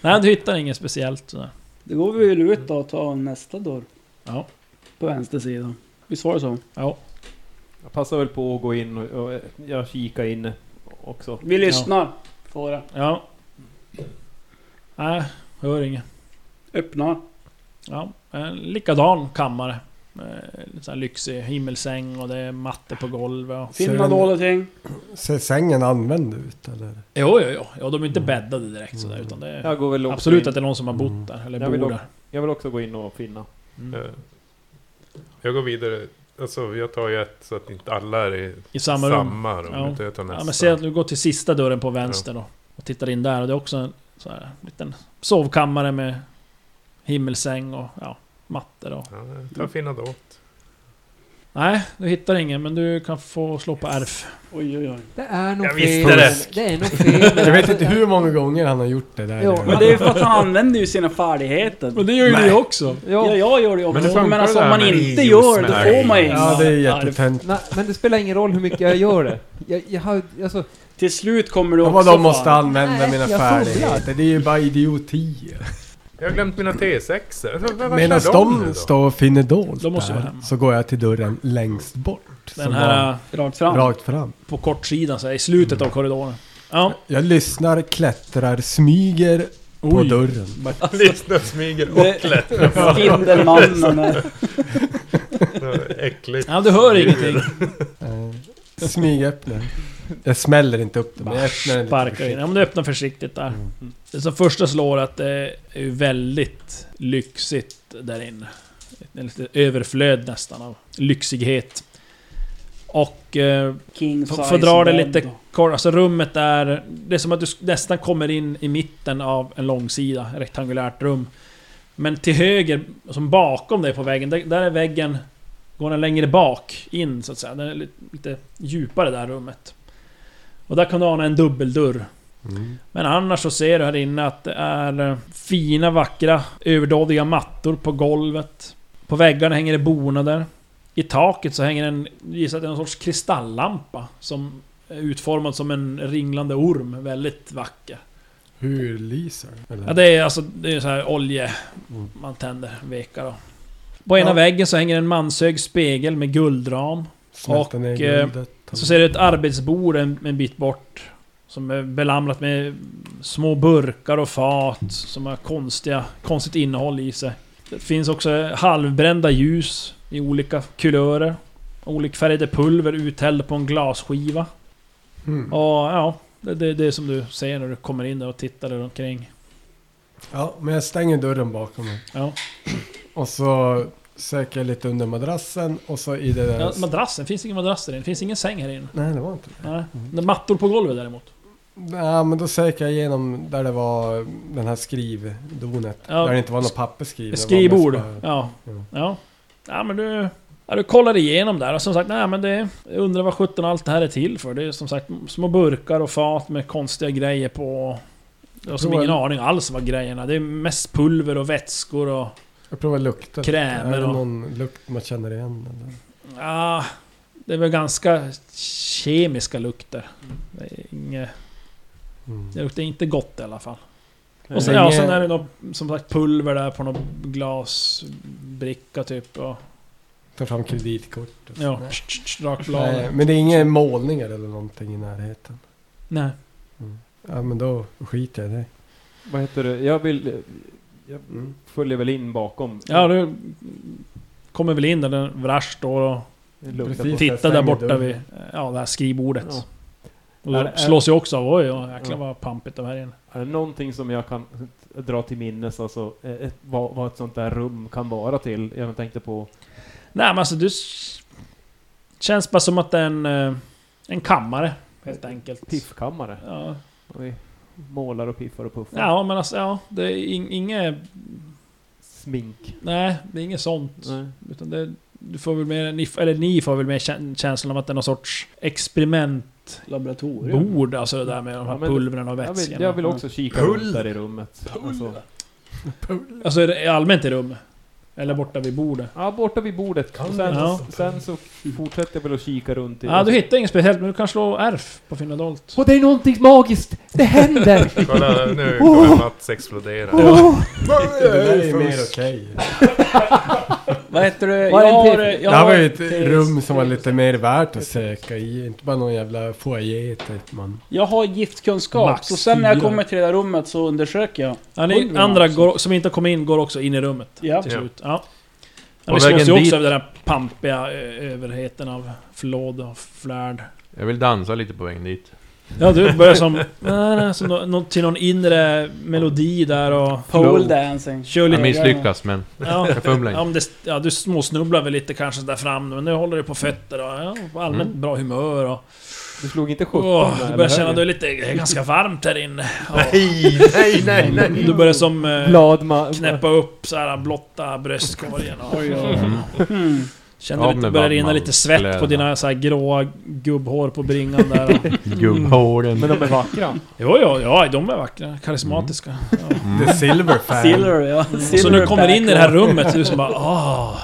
S3: Nej, du hittar inget speciellt sådär.
S6: Då går vi väl ut då och tar nästa dörr.
S3: Ja.
S6: På vänster sida. Visst var det så?
S3: Ja.
S7: Jag passar väl på att gå in och, och jag kikar in också.
S6: Vi lyssnar. Får det.
S3: Ja. Nej, hör inget.
S6: Öppnar.
S3: Ja, en likadan kammare. Eh, Lite så här lyxig himmelsäng och det är matte på golvet och...
S6: Finner
S4: Ser
S6: man
S4: den-
S6: dåliga ting?
S4: Ser sängen använd ut eller?
S3: Jo, jo, jo. Ja, de är inte bäddade direkt sådär utan det är...
S7: Jag går väl också
S3: Absolut
S7: in.
S3: att det är någon som har bott där, eller
S7: Jag vill
S3: bor
S7: dock-
S3: där.
S7: Jag vill också gå in och finna.
S5: Eh, Jag går vidare. Alltså jag tar ju ett så att inte alla är i
S3: I
S5: samma
S3: samma
S5: rum.
S3: rum. Ja.
S5: utan jag tar nästa.
S3: Ja, men se att du går till sista dörren på vänster då. Och tittar in där och det är också en så här, liten sovkammare med himmelsäng och ja, mattor och...
S5: Ja, jag tar finna då.
S3: Nej, du hittar ingen men du kan få slå på ärf.
S6: Oj, oj, oj.
S9: Det är nog
S5: Jag
S9: fel.
S5: visste det. (laughs)
S9: är nog fel.
S4: Jag vet inte hur många gånger han har gjort det där.
S9: Jo,
S6: Men det är ju för att han använder ju sina färdigheter.
S3: Men det gör ju du också!
S9: Ja,
S6: Ja, jag gör det
S8: Men det
S6: också.
S8: funkar
S6: Men, alltså
S8: det här
S6: om man
S8: med
S6: inte
S8: videos
S6: gör det,
S8: med
S6: då får man ju
S4: Ja, det är jättetöntigt.
S9: Nej, men det spelar ingen roll hur mycket jag gör det. Jag, jag har, alltså,
S6: Till slut kommer du också...
S4: Vadå måste
S6: fan.
S4: använda
S9: Nej,
S4: mina
S9: jag
S4: färdigheter? Det är ju bara idiotier.
S5: Jag har glömt mina T6er.
S4: Medan
S5: nu
S4: de
S5: då?
S4: står och finner dolt
S3: De måste vara
S4: där,
S3: hemma.
S4: så går jag till dörren längst bort.
S3: Den
S4: som
S3: här
S6: Rakt
S3: eh,
S4: var Mm.
S6: fram.
S4: rakt fram.
S3: på kortsidan så här, i slutet av korridoren. Ja.
S4: Jag lyssnar, klättrar, smyger på
S3: Oj.
S4: dörren.
S3: (laughs)
S5: Lyssna, smyger
S6: Det-
S5: och klättrar.
S6: (laughs) Spindelmannen. är-
S5: Äckligt.
S3: ja, du hör ingenting.
S4: Eh, Smygöppnar. Jag smäller inte upp den, men jag öppnar den lite
S3: Sparkar in. Ja,
S4: försiktigt. Mm.
S3: men du öppnar försiktigt där. Mm. Det som första slår att det är ju väldigt lyxigt där inne. Det är Lite överflöd nästan av lyxighet. Och... Eh,
S6: King
S3: F-
S6: size
S3: Fördrar det
S6: bed.
S3: lite kort, alltså rummet är... Det är som att du s- nästan kommer in i mitten av en långsida, ett rektangulärt rum. Men till höger, som bakom dig på väggen, där, där är väggen... Går den längre bak, in så att säga. Den är lite, lite djupare där rummet. Och där kan du ana en dubbeldörr. Men annars så ser du här inne att det är eh, fina, vackra, överdådiga mattor på golvet. På väggarna hänger det bonader. I taket så hänger en, gissar att det är någon sorts kristalllampa som är Eh, utformad som en ringlande orm. Väldigt vacker.
S4: Hur lyser den?
S3: Ja, det är alltså det är så här olje man tänder, vekar då. På ena
S4: Ja.
S3: väggen så hänger en manshög spegel med guldram.
S4: Smälta
S3: och,
S4: ner
S3: eh,
S4: guldet.
S3: Så ser du ett arbetsbord en, en bit bort. Som är belamrat med små burkar och fat som har konstiga, konstigt innehåll i sig. Det finns också halvbrända ljus i olika kulörer. Olikfärgade pulver uthällda på en glasskiva.
S4: Mm.
S3: Och ja, det, det, det är som du säger när du kommer in där och tittar där omkring.
S4: Ja, men jag stänger dörren bakom mig.
S3: Ja.
S4: Och så söker jag lite under madrassen och så i det där...
S3: Ja, madrassen, finns ingen madrass där inne. Finns ingen säng här inne.
S4: Nej, det var inte det.
S3: Nej. Det är Mattor på golvet däremot.
S4: Nej, men då söker jag igenom där det var den här skrivdonet.
S3: Ja.
S4: Där det inte var något papper skrivet. det var mest
S3: Skrivbord.
S4: bara-
S3: Ja.
S4: Mm.
S3: Ja. Ja men du... Ja, du kollar igenom där och som sagt, nej men det... Jag undrar vad sjutton allt det här är till för. Det är som sagt små burkar och fat med konstiga grejer på... Jag har som
S4: Prova-
S3: ingen aning alls vad grejerna... Det är mest pulver och vätskor och...
S4: Jag provar lukta.
S3: Krämer
S4: Är det
S3: och-
S4: någon lukt man känner igen? Eller?
S3: Ja, det är väl ganska kemiska lukter. Det, är inget,
S4: Mm.
S3: det luktar inte gott i alla fall.
S4: Nej,
S3: Och sen,
S4: det är
S3: ja,
S4: inget-
S3: sen är det något, som sagt pulver där på någon glasbricka typ. Och,
S4: Tar fram kreditkort. och så.
S3: ja,
S4: Nej.
S3: rakbladet.
S4: Nej, men det är inga målningar eller någonting i närheten.
S3: Nej.
S4: Ja, men då skiter jag i det. Mm.
S7: Vad heter det? Jag vill... Jag följer väl in bakom.
S3: Ja, du kommer väl in där den Vrash står och
S7: Luktar
S4: precis.
S7: på.
S3: tittar där
S4: stänger
S3: borta
S4: dörren.
S3: vid ja, det här skrivbordet.
S7: Ja.
S3: Och
S7: Är
S3: då
S7: det-
S3: slås ju också av, oj oj, jäklar
S7: Ja.
S3: vad pampigt det här är. inne.
S7: Är det någonting som jag kan dra till minnes, alltså eh, ett, vad, vad ett sånt där rum kan vara till? Jag tänkte på...
S3: Nej men alltså du... s- Känns bara som att det är en, eh, en kammare, helt enkelt.
S7: Piffkammare.
S3: Ja,
S7: Och Vi målar och piffar och puffar.
S3: ja men alltså, ja, det är in- inget...
S7: Smink.
S3: Nej, det är inget sånt.
S7: Nej.
S3: Utan det, du får väl mer, ni, eller ni får väl mer kä- känslan av att det är någon sorts experimentbord,
S6: Laboratorium.
S3: alltså det där med de här
S7: Ja, men-
S3: pulvren och
S7: Jag
S3: vätskan.
S7: vill, jag vill också kika runt där i rummet. Alltså,
S3: Alltså är det allmänt i rummet? Eller borta vid bordet?
S7: Ja, borta vid bordet. Och sen,
S3: Ja.
S7: sen så fortsätter jag väl att kika runt i...
S3: Ja, du hittar inget speciellt, men du kan slå RF på finna dolt.
S9: Och det är någonting magiskt! Det händer!
S5: Kolla
S3: (laughs)
S5: nu kommer Mats explodera.
S4: Det där är ju mer okej.
S6: Vad heter du?
S9: Vad är
S6: Jag
S9: en
S6: har...
S9: till?
S6: Jag
S4: det här var
S6: har
S4: ju ett rum som var lite mer värt att söka i. Inte bara någon jävla foyer typ man.
S6: Jag har giftkunskap,
S4: Max
S6: så sen när jag
S4: fyra.
S6: kommer till det där rummet så undersöker jag.
S3: Ja, ni
S6: Oj,
S3: andra
S6: alltså.
S3: går, som inte har kommit in går också in i rummet
S6: Ja.
S3: till
S5: Ja.
S3: slut. Ja. Ja,
S8: På
S3: ni slås
S8: vägen
S3: ju
S8: dit-
S3: också av den här pampiga eh, överheten av flåd och flärd.
S8: Jag vill dansa lite på vägen dit.
S3: Ja, du börjar som...
S8: (laughs)
S3: nej, nej, som nå- nå- till någon inre melodi där och...
S6: Pole dancing.
S3: Kör
S8: Jag
S3: lite...
S8: misslyckas men
S3: Ja,
S8: jag fumlar
S3: ja,
S8: inte.
S3: men det, ja, du småsnubblar väl lite kanske där fram, men nu håller du på fötter och ja, på allmänt
S8: Mm.
S3: bra humör och...
S7: Du slog inte 17
S3: Åh, du
S7: eller
S3: börjar känna att
S7: högre?
S3: du är lite... Det är ganska varmt här
S8: (laughs)
S3: inne. Ja.
S5: nej, nej,
S3: Du börjar som... eh,
S7: Bladma...
S3: knäppa upp så här blotta bröstkorgen och...
S8: Mm.
S6: Hmm.
S3: Känner
S8: Av
S3: lite,
S8: med
S3: börjar
S8: varma
S3: rinna lite svett på
S8: kläderna.
S3: dina så här gråa gubbhår på bringan där.
S8: (laughs)
S3: och-
S8: Mm. Gubbhåren.
S7: Men de är vackra.
S3: Jo, jo, ja, de är vackra. Karismatiska.
S8: Mm.
S3: Ja.
S4: The silver fan.
S6: Silver, ja.
S3: Och så när du kommer in i det här
S6: rummet.
S3: rummet så är du som bara ah.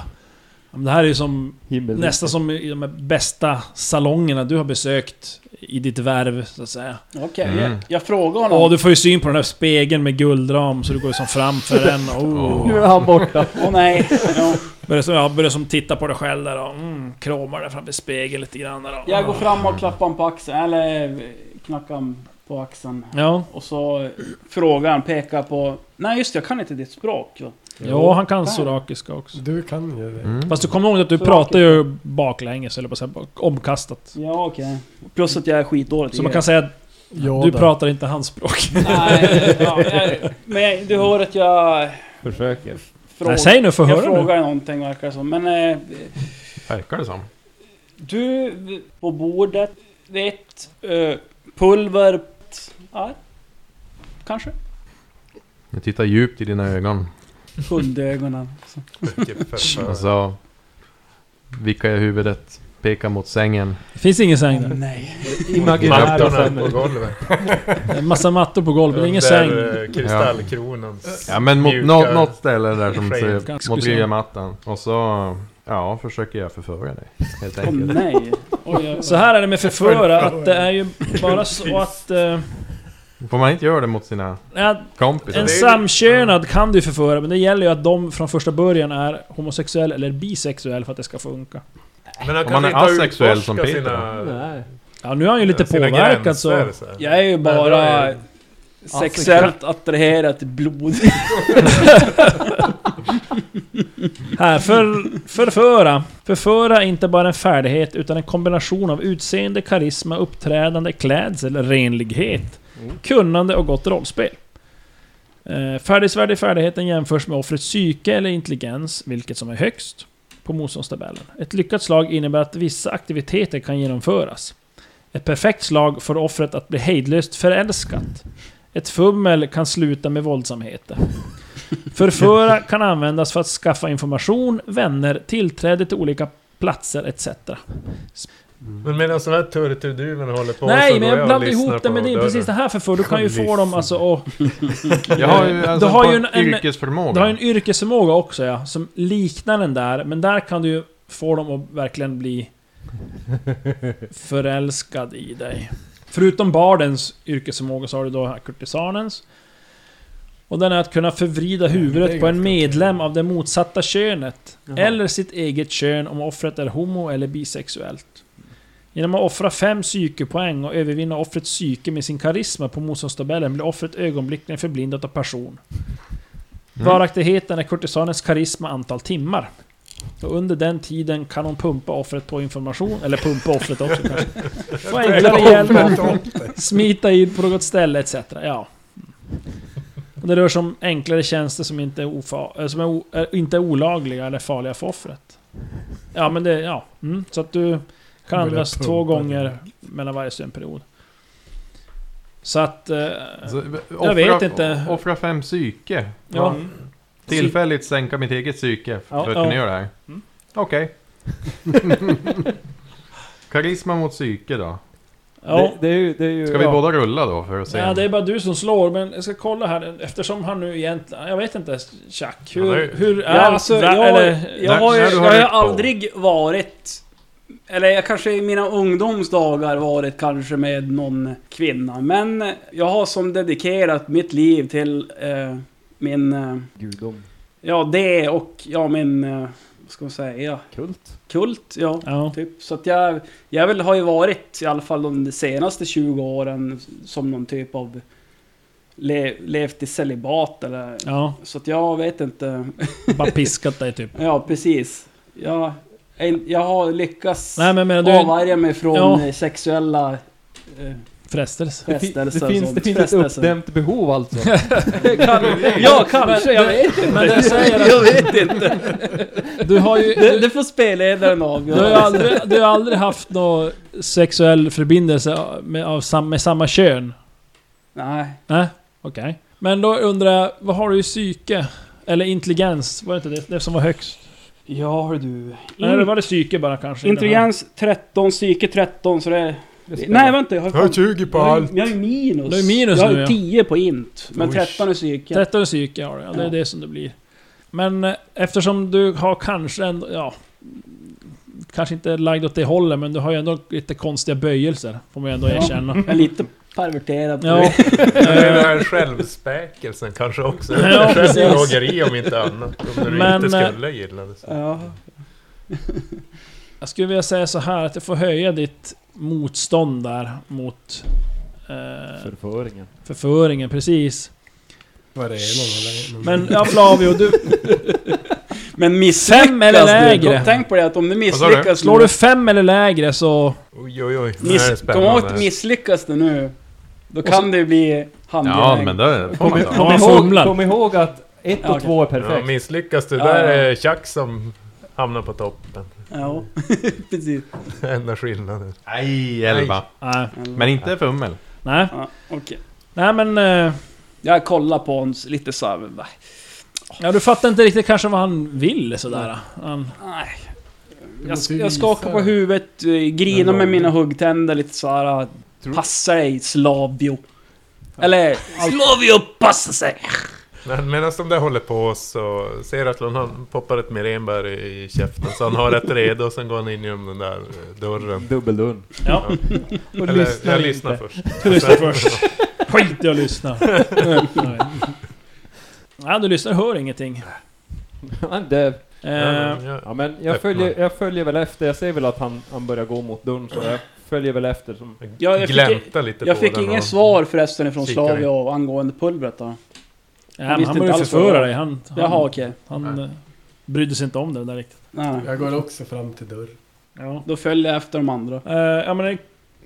S3: Men Det här är ju som
S7: Himmel.
S3: nästan som i de här bästa salongerna du har besökt i ditt värv så att säga.
S6: Okej,
S8: Mm.
S6: jag, jag frågar honom.
S3: Ja, du får ju syn på den här spegeln med guldram så du går ju som framför
S6: (laughs)
S3: den och oh.
S7: Nu är han borta.
S6: Åh nej. Ja.
S3: börjar, som, ja, börjar som titta på dig själv där och mm, kramar dig framför spegeln lite grann där och,
S6: Jag går fram och klappar honom på axeln, eller knackar honom på axeln.
S3: Ja,
S6: Och så frågar han, pekar på... Nej just det, jag kan inte ditt språk. va?
S3: ja han kan sorakiska också.
S4: Du kan ju det.
S8: Mm.
S3: Fast du kommer ihåg att du pratar ju baklänges, eller på så här, omkastat.
S6: Ja okej. Plus att jag är skitdålig
S3: Så man kan säga att
S4: Ja,
S3: du
S4: då.
S3: pratar inte hans språk.
S6: (laughs) Nej, ja, jag, men du hör att jag
S7: Försöker.
S6: frågar...
S3: Nej, säg nu, få
S6: jag
S3: höra nu.
S6: frågar någonting verkar det som. Men eh,
S8: Verkar det som.
S6: du, på bordet, vet... Eh, pulver... Ja, kanske?
S8: Jag tittar djupt i dina ögon.
S6: Hundögonen. Så.
S8: Alltså, vicka i huvudet, pekar mot sängen.
S3: Det finns ingen säng där.
S6: Nej.
S7: Imaginära
S5: Mattorna på
S7: sämre.
S5: golvet.
S3: Det är en massa mattor på golvet, men ingen säng.
S5: Under eh, kristallkronans...
S8: Ja men mot
S5: mjuka-
S8: något, något ställe där som
S5: Sken.
S8: ser,
S3: Ganska
S8: mot
S3: speciellt.
S8: lilla mattan. Och så, ja, försöker jag förföra dig. Helt
S6: Åh
S8: enkelt.
S6: nej. Oj, oj, oj.
S3: Så här är det med förföra, att det är ju bara så att... eh,
S8: Får man inte göra det mot sina
S3: ja,
S8: kompisar?
S3: en samkönad kan du förföra, men det gäller ju att de från första början är homosexuell eller bisexuell för att det ska funka.
S5: Men han
S8: Om
S5: kanske
S8: man är
S5: inte har
S8: asexuell som
S5: utforskat
S8: Peter.
S5: Sina,
S7: Nej.
S3: Ja, nu är han ju lite
S5: sina
S3: påverkad så...
S5: gränser, så. här.
S6: Jag är ju
S5: Men då
S6: bara
S5: är-
S6: sexuellt attraherad till blod.
S3: Här, för, förföra. Förföra är inte bara en färdighet utan en kombination av utseende, karisma, uppträdande, klädsel, renlighet, kunnande och gott rollspel. Eh, Färdighetsvärde i färdigheten jämförs med offrets psyke eller intelligens, vilket som är högst, på motståndstabellen. Ett lyckat slag innebär att vissa aktiviteter kan genomföras. Ett perfekt slag får offret att bli hejdlöst förälskat. Ett fummel kan sluta med våldsamheter. Förföra kan användas för att skaffa information, vänner, tillträde till olika platser etc.
S5: Men medan de här turturduvorna håller på så
S3: Nej, men
S5: går
S3: jag
S5: och
S3: blandar
S5: lyssnar
S3: ihop det med
S5: på
S3: din.
S5: dörren.
S3: Precis det här förför. Du kan ju få dem alltså och,
S8: Jag
S3: (laughs)
S8: har ju, alltså,
S3: Du har
S8: på
S3: ju en- en-
S8: yrkesförmåga.
S3: Du har ju en yrkesförmåga också ja, som liknar den där. Men där kan du ju få dem att verkligen
S4: (laughs)
S3: bli förälskad i dig. Förutom bardens yrkesförmåga så har du då här kurtisanens. Och den är att kunna förvrida
S4: det är
S3: huvudet på en
S4: ganska
S3: medlem av det motsatta könet. Eller sitt eget kön om offret är homo eller bisexuellt. Genom att offra fem psykepoäng och övervinna offrets psyke med sin karisma på motståndstabellen blir offret ögonblickligen förblindat av person. Varaktigheten är kurtisanens karisma antal timmar. Och under den tiden kan hon pumpa offret på information, eller pumpa offret också kanske. Få enklare hjälp att smita in på något ställe etc. Ja. Och det rör sig om enklare tjänster som inte är, ofa- eh, som är, o- eh, inte är olagliga eller farliga för offret. Ja men det, ja. Mm. Så att du kan
S4: Börja
S3: användas
S4: pumpa
S3: två
S4: det.
S3: gånger mellan varje sömnperiod. Så att... Eh,
S8: Alltså,
S3: Jag vet inte.
S8: Offra fem psyke.
S3: ja.
S8: Tillfälligt sänka mitt eget psyke för
S3: Ja,
S8: att
S3: ja. Mm.
S8: kunna göra det här.
S3: (laughs)
S8: Okej. Karisma mot psyke då.
S3: Ja.
S7: Det, det är ju... Det är ju
S8: Ska vi
S7: ja.
S8: båda rulla då för att se?
S3: Ja, det är bara du som slår, men jag ska kolla här eftersom han nu egentligen... Jag vet inte, Chuck.
S5: Han har
S3: Hur,
S5: ju-
S3: hur är...
S6: Ja, alltså,
S3: vä-
S6: jag,
S3: eller,
S6: jag har ju,
S8: när du
S6: jag
S8: har
S6: har ju
S8: rätt på.
S6: aldrig varit... Eller jag kanske i mina ungdomsdagar varit kanske med någon kvinna. Men jag har som dedikerat mitt liv till eh, min... Eh,
S7: Gudom.
S6: ja, det och ja, min... Eh, vad ska man säga?
S7: Kult.
S6: Kult, ja.
S3: ja.
S6: Typ. Så att jag, jag väl har ju varit i alla fall de senaste 20 åren som någon typ av... Le, levt i celibat eller...
S3: ja,
S6: Så att jag vet inte. (laughs)
S3: bara piskat dig typ.
S6: Ja, precis. Jag, en- jag har lyckats
S3: Nej men menar du...
S6: avvärja mig från
S3: Ja.
S6: eh, sexuella eh,
S3: Frestelse.
S7: Det, fi- det,
S6: frestelser. och
S7: finns,
S6: sånt.
S7: det finns ett
S6: Frestelser.
S7: uppdämt behov alltså.
S6: Kan- (laughs) ja, kanske. Jag vet inte.
S3: Men
S7: (laughs)
S3: jag säger
S6: jag vet inte.
S3: Du har ju...
S6: Det,
S3: Du,
S6: det får spelledaren avgöra.
S3: du har ju aldrig, du har aldrig haft någon sexuell förbindelse med, av sam, med samma kön?
S6: Nej.
S3: Nej, okej. Men då undrar jag, vad har du i psyke? Eller intelligens? Var det inte det, det som var högst?
S6: Ja, hör du.
S3: Nej, det var det psyke bara kanske? i den här?
S6: Intelligens 13, psyke 13, så det... är- Nej, vänta. Jag har,
S5: Jag har
S6: fan,
S5: 20 på
S6: jag har,
S5: allt.
S6: jag har ju minus.
S3: Du har ju minus
S6: jag har
S3: nu,
S6: ju
S3: ja.
S6: 10 på int. Men
S5: Oj.
S6: 13 är psyke.
S3: 13 psyke har du, ja, det är
S6: Ja.
S3: det som det blir. Men eh, eftersom du har kanske ändå, ja... Kanske inte lagd åt det hållet, men du har ju ändå lite konstiga böjelser. Får man ju ändå
S6: Ja. Mm.
S3: erkänna.
S6: Jag är lite perverterad.
S3: Ja,
S5: (laughs) Det är den här självspäkelsen kanske också.
S3: Ja, precis.
S5: Självplågeri om inte annat. Om du
S3: Men,
S5: inte
S3: eh,
S5: skulle gilla det. så.
S6: ja.
S3: jag skulle vilja säga så här att du får höja ditt motstånd där mot... Eh,
S7: Förföringen.
S3: förföringen, precis.
S4: Var det någon eller?
S5: Mm.
S4: Mm.
S3: Men ja, Flavio,
S5: (laughs)
S3: du,
S6: Men misslyckas
S3: Fem eller
S6: du,
S3: lägre?
S6: då- Tänk på det att om du
S8: sa du?
S6: misslyckas
S3: slår du fem eller lägre så...
S5: Oj, oj, oj. Nu är det
S6: miss, Kom ihåg att
S5: spännande.
S6: misslyckas du nu. Då kan det ju bli handgemäng.
S8: Ja, men det får
S7: Kom,
S8: man
S7: i-
S8: ta.
S7: kom,
S3: fumlar.
S7: ihåg, kom ihåg att ett
S6: Ja,
S7: och
S6: okej.
S7: två är
S5: Ja,
S7: perfekt.
S5: misslyckas du
S6: Ja,
S5: där
S6: ja.
S5: är Chuck som hamnar på toppen. (laughs)
S6: Ja, (laughs) precis.
S5: Enda skillnaden.
S8: Nej, elva.
S3: Nej.
S8: Men inte fummel.
S3: Nej.
S6: Ja, okej.
S3: Nej men... eh,
S6: Jag kollar på honom lite så här, va?
S3: Ja, du fattar inte riktigt kanske vad han vill sådär. Han,
S6: Nej. Jag,
S4: måste ju
S6: jag skakar
S4: visa.
S6: på huvudet, eh, grinar med mina huggtänder lite så här. eh,
S7: Tror-
S6: Passa dig, Slavio. Eller... Slavio, passa sig!
S5: Men medan de där håller på så ser Atlon han poppar ett merenbär i i käften. Så han har ett redo och sen går han in genom den där eh, dörren.
S7: Dubbeldörren.
S3: ja,
S7: Och
S5: Eller,
S7: lyssnar
S5: jag
S7: inte.
S5: lyssnar först.
S3: du lyssnar
S6: Alltså.
S3: först. Skit
S6: (laughs)
S3: jag lyssnar. Nej. Ja, du lyssnar och hör ingenting.
S7: Han är döv.
S3: Eh,
S5: Ja, men jag-
S7: Ja, men jag följer, jag följer väl efter. Jag ser väl att han, han börjar gå mot dörren så jag följer väl efter. Som,
S6: Ja, jag fick-
S5: gläntar lite
S6: Jag
S5: på
S6: fick
S5: den
S6: inget
S5: och-
S6: svar förresten från
S5: Kikar in.
S6: Slavio angående pulvret då.
S3: ja,
S6: Jag
S3: men
S6: visste
S3: han började
S6: inte alls vad det
S3: förföra
S6: var.
S3: dig. Han, han,
S6: Jaha, okej.
S3: han eh, brydde sig inte om det där riktigt.
S6: Nej.
S4: Jag går också fram till dörren.
S3: Ja.
S6: Då följer jag efter de andra.
S3: Eh, ja men när ni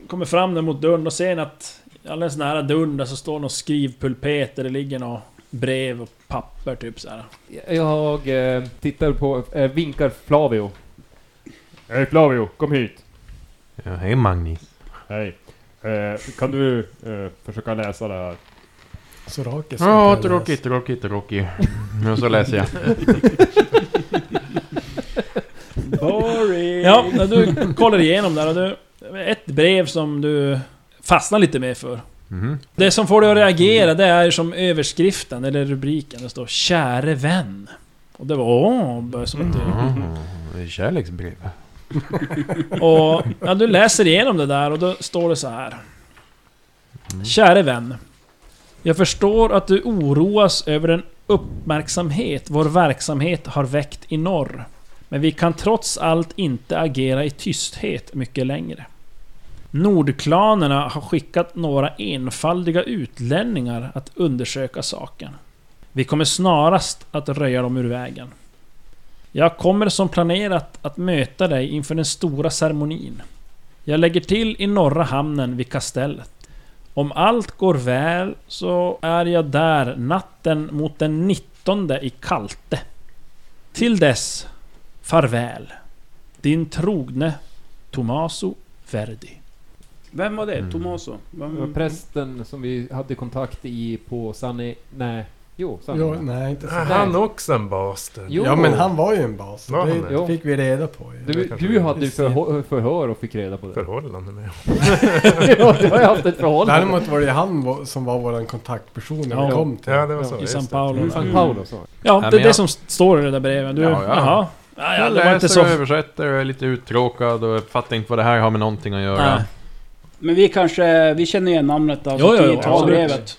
S3: kommer fram där mot dörren, och ser ni att alldeles nära dörren där så står någon skrivpulpet där det ligger några brev och papper typ så här.
S7: jag eh, tittar på, eh, vinkar Flavio. Hej Flavio, kom hit.
S8: Ja, hej Magnus.
S7: Hej. Eh, kan du eh, försöka läsa det här?
S4: Sorakis.
S8: Ja, tråkigt, tråkigt, tråkigt. Nu så läser (laughs) jag.
S6: Boring!
S3: Ja, när du kollar igenom där och du... Ett brev som du fastnar lite mer för.
S8: Mhm.
S3: Det som får dig att reagera det är som överskriften, eller rubriken, det står 'Käre vän' Och det var åh, bara som att du...
S8: Mm. Kärleksbrev.
S3: Och ja, du läser igenom det där och då står det så här. Käre vän. Jag förstår att du oroas över den uppmärksamhet vår verksamhet har väckt i norr. Men vi kan trots allt inte agera i tysthet mycket längre. Nordklanerna har skickat några enfaldiga utlänningar att undersöka saken. Vi kommer snarast att röja dem ur vägen. Jag kommer som planerat att möta dig inför den stora ceremonin. Jag lägger till i norra hamnen vid kastellet. Om allt går väl så är jag där natten mot den 19 i Kalte. Till dess, farväl. Din trogne Tommaso Verdi.
S6: Vem var det?
S8: Mm.
S6: Tomaso? Vem?
S7: Prästen som vi hade kontakt i på Sanne... Nej, Jo, sant.
S4: Jo, nej, inte så.
S5: Han också en bastard.
S7: Jo.
S4: Ja, men han var ju en bas.
S5: Var han
S4: Det
S5: det?
S4: det fick vi reda på ju.
S7: Du, du hade ju förhör, förhör och fick reda på det.
S5: Förhållande med honom.
S7: (laughs) ja, du har ju haft ett förhållande.
S4: Däremot var det han var- som var vår kontaktperson när vi
S3: Ja.
S4: kom till.
S5: Ja, det var så.
S7: I
S3: I
S5: just
S3: San
S5: det.
S3: Paolo.
S7: Mm. San Paolo sa
S3: Ja,
S8: men
S3: det är det
S8: jag-
S3: som står i det där brevet. Du,
S8: Ja, ja.
S3: jaha. Ja, ja,
S8: Jag
S3: det var inte
S8: läser
S3: så...
S8: och översätter och är lite uttråkad och jag fattar inte vad det här har med någonting att göra.
S3: Nej.
S6: Men vi kanske, vi känner igen namnet av
S3: Jo, jo, jo,
S6: tidtalsbrevet.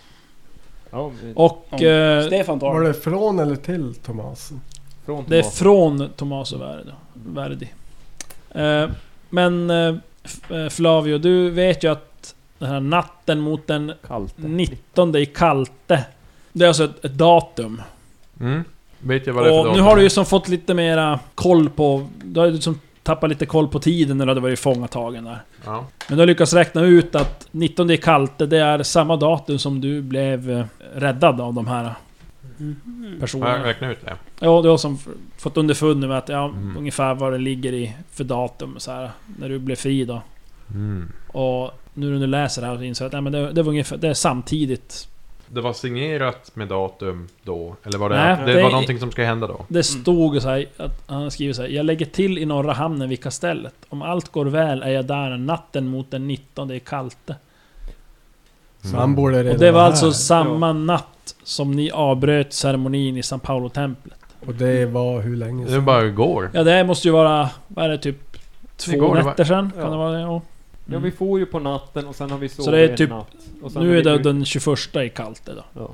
S7: ja, men-
S3: Och
S6: Ja.
S3: eh,
S6: Stefan
S4: Var
S6: tar det.
S4: det från eller till Thomas?
S7: Från
S3: det är
S7: tillbaka.
S3: från Tommaso Verdi. Verdi. Eh, men eh, F- eh, Flavio, du vet ju att den här natten mot den
S7: Kallt.
S3: 19 i Kalte. Det är alltså ett, ett datum.
S8: Mm. Vet jag vad det är för
S3: Och nu
S8: datum?
S3: har du ju som fått lite mera koll på... Du har ju som tappat lite koll på tiden när du hade varit fångatagen där.
S8: Ja.
S3: Men du har lyckats räkna ut att 19 i Kalte, det är samma datum som du blev eh, räddad av de här
S8: Har jag
S3: personerna.
S8: räknat ut det?
S3: Ja, du har som f- fått underfund med att ja,
S8: Mm.
S3: ungefär vad det ligger i för datum så här, när du blev fri då.
S8: Mm.
S3: Och nu när du läser det här så inser du att nej, men det, det var ungefär, det är samtidigt.
S8: Det var signerat med datum då? Eller var det,
S3: Nej,
S8: det,
S3: det-
S8: var någonting som skulle hända då?
S3: Det
S4: Mm.
S3: stod så här, att han skriver så här. Jag lägger till i norra hamnen vid kastellet. Om allt går väl är jag där natten mot den 19 i Kalte.
S4: Så han borde redan
S3: Och det var
S4: här.
S3: alltså samma natt som ni avbröt ceremonin i San Paolo-templet.
S4: Och det var hur länge
S8: Det
S4: sedan?
S8: bara går.
S3: Ja det här måste ju vara, vad är det, typ två
S8: Igår, det var-
S3: nätter sedan?
S7: ja.
S3: Kan det vara det? Ja.
S7: Ja, vi får ju på natten och sen har vi sovit
S3: det är typ-
S7: en natt. Och sen
S3: Nu är
S7: har vi-
S3: det den 21 i Kalte då.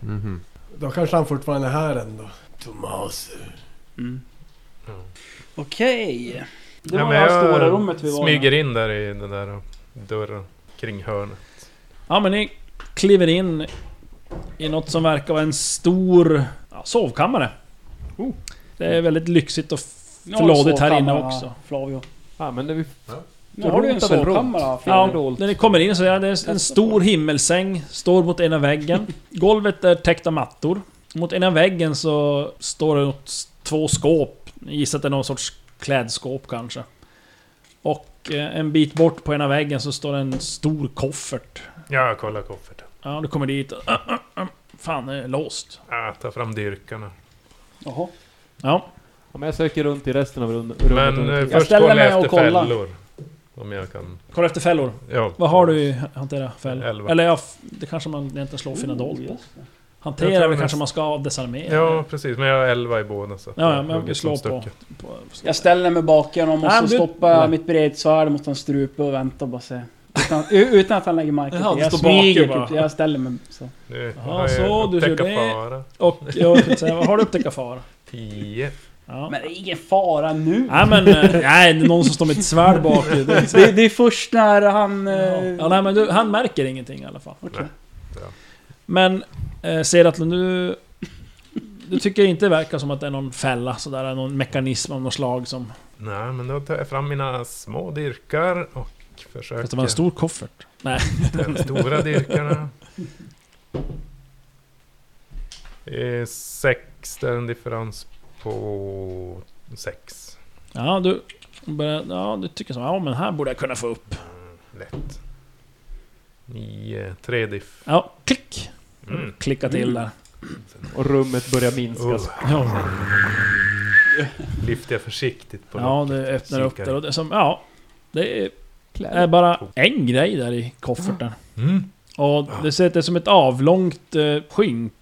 S8: Mhm.
S4: Då kanske han fortfarande är här ändå. Thomas.
S6: Mm. Okej. Det
S5: Ja,
S6: var
S5: men
S6: det här
S5: jag
S6: stora rummet vi var i.
S5: Smyger in där i den där dörren kring hörnet.
S3: Ja men ni kliver in i något som verkar vara en stor ja, sovkammare.
S7: Oh.
S3: Det är väldigt lyxigt och
S6: Nu har du
S3: flådigt här inne
S6: sovkammare,
S3: också.
S6: Flavio.
S7: Ja, men när vi...
S6: Nu har du en
S7: rotar väl runt.
S6: sovkammare.
S3: Ja,
S6: Flavio.
S7: Dolt.
S3: när ni kommer in så är det en- en stor himmelsäng, står mot ena väggen. Golvet är täckt av mattor. Mot ena väggen så står det något, s- två skåp. Jag gissar att det är någon sorts klädskåp kanske. Och eh, en bit bort på ena väggen så står det en stor koffert.
S5: Ja, kolla kofferten.
S3: Ja, du kommer dit. (clears throat) och- Fan, det är låst.
S5: Ah, ta fram dyrkarna.
S6: Jaha.
S3: Ja,
S7: Ja, men jag söker runt i resten av rund- rummet.
S5: Men eh,
S7: runt-
S5: först
S6: ställer
S5: kolla
S6: mig och
S5: efter
S6: kollar.
S5: fällor. Om jag kan...
S3: kolla efter fällor.
S5: Ja.
S3: Vad har du i hantera fällor?
S5: Elva.
S3: Eller ja, f- det kanske man egentligen slår fina dolt på.
S6: Just
S5: Jag
S3: Hantera
S5: tror
S3: det
S5: mest-
S3: kanske man ska desarmera.
S5: Ja, precis. Men jag har elva i båda så... att
S3: Ja, ja,
S5: jag
S3: men
S5: hugger
S3: vi
S5: som
S3: slår på.
S5: stucket.
S3: På-
S6: Jag ställer mig bakom honom och
S3: Nej,
S6: så
S3: men du-
S6: stoppar jag mitt bredsvärd mot hans strupe och väntar och bara se. Utan, u- utan att han lägger märke
S3: Jaha,
S6: till.
S3: du
S6: Jag
S3: står bakom
S6: smyger
S3: bara.
S6: typ. Jag ställer mig så.
S5: Nu
S3: Jaha,
S5: har
S3: så,
S5: jag
S3: du kör
S5: upptäckt
S3: det.
S5: fara.
S3: Och jag tänkte säga, vad har du upptäckt fara?
S5: Tio.
S3: Ja.
S6: Men det är ingen fara nu.
S3: Nej men, eh, nej det är någon som står med ett svärd bak i.
S5: (laughs)
S3: Det är inte-
S6: Det, det är först när han... eh,
S3: Ja, nej men du, han märker ingenting i alla fall.
S6: Okej.
S5: Ja.
S3: Men, eh, Seratlund, du... Du tycker inte det verkar som att det är någon fälla sådär, någon mekanism av något slag som...
S5: Nej, men då tar jag fram mina små dyrkar och försöker...
S3: Fast det var en stor koffert.
S5: De stora dyrkarna. Det är Eh, sex, det är en differens på sex.
S3: Ja, du... Börjar, ja, du tycker som ja men här borde jag kunna få upp.
S5: Lätt. Nio, tre diff.
S3: Ja, klick!
S5: Mm.
S3: Klicka till där.
S7: Och rummet börjar minskas.
S5: Oh,
S3: Ja.
S5: lyfter jag försiktigt på
S3: Ja, det öppnar upp
S5: Kikar.
S3: där och det som, ja... Det är, är bara en grej där i kofferten.
S5: Mm.
S3: Och det ser ut det är som ett avlångt eh, skynke.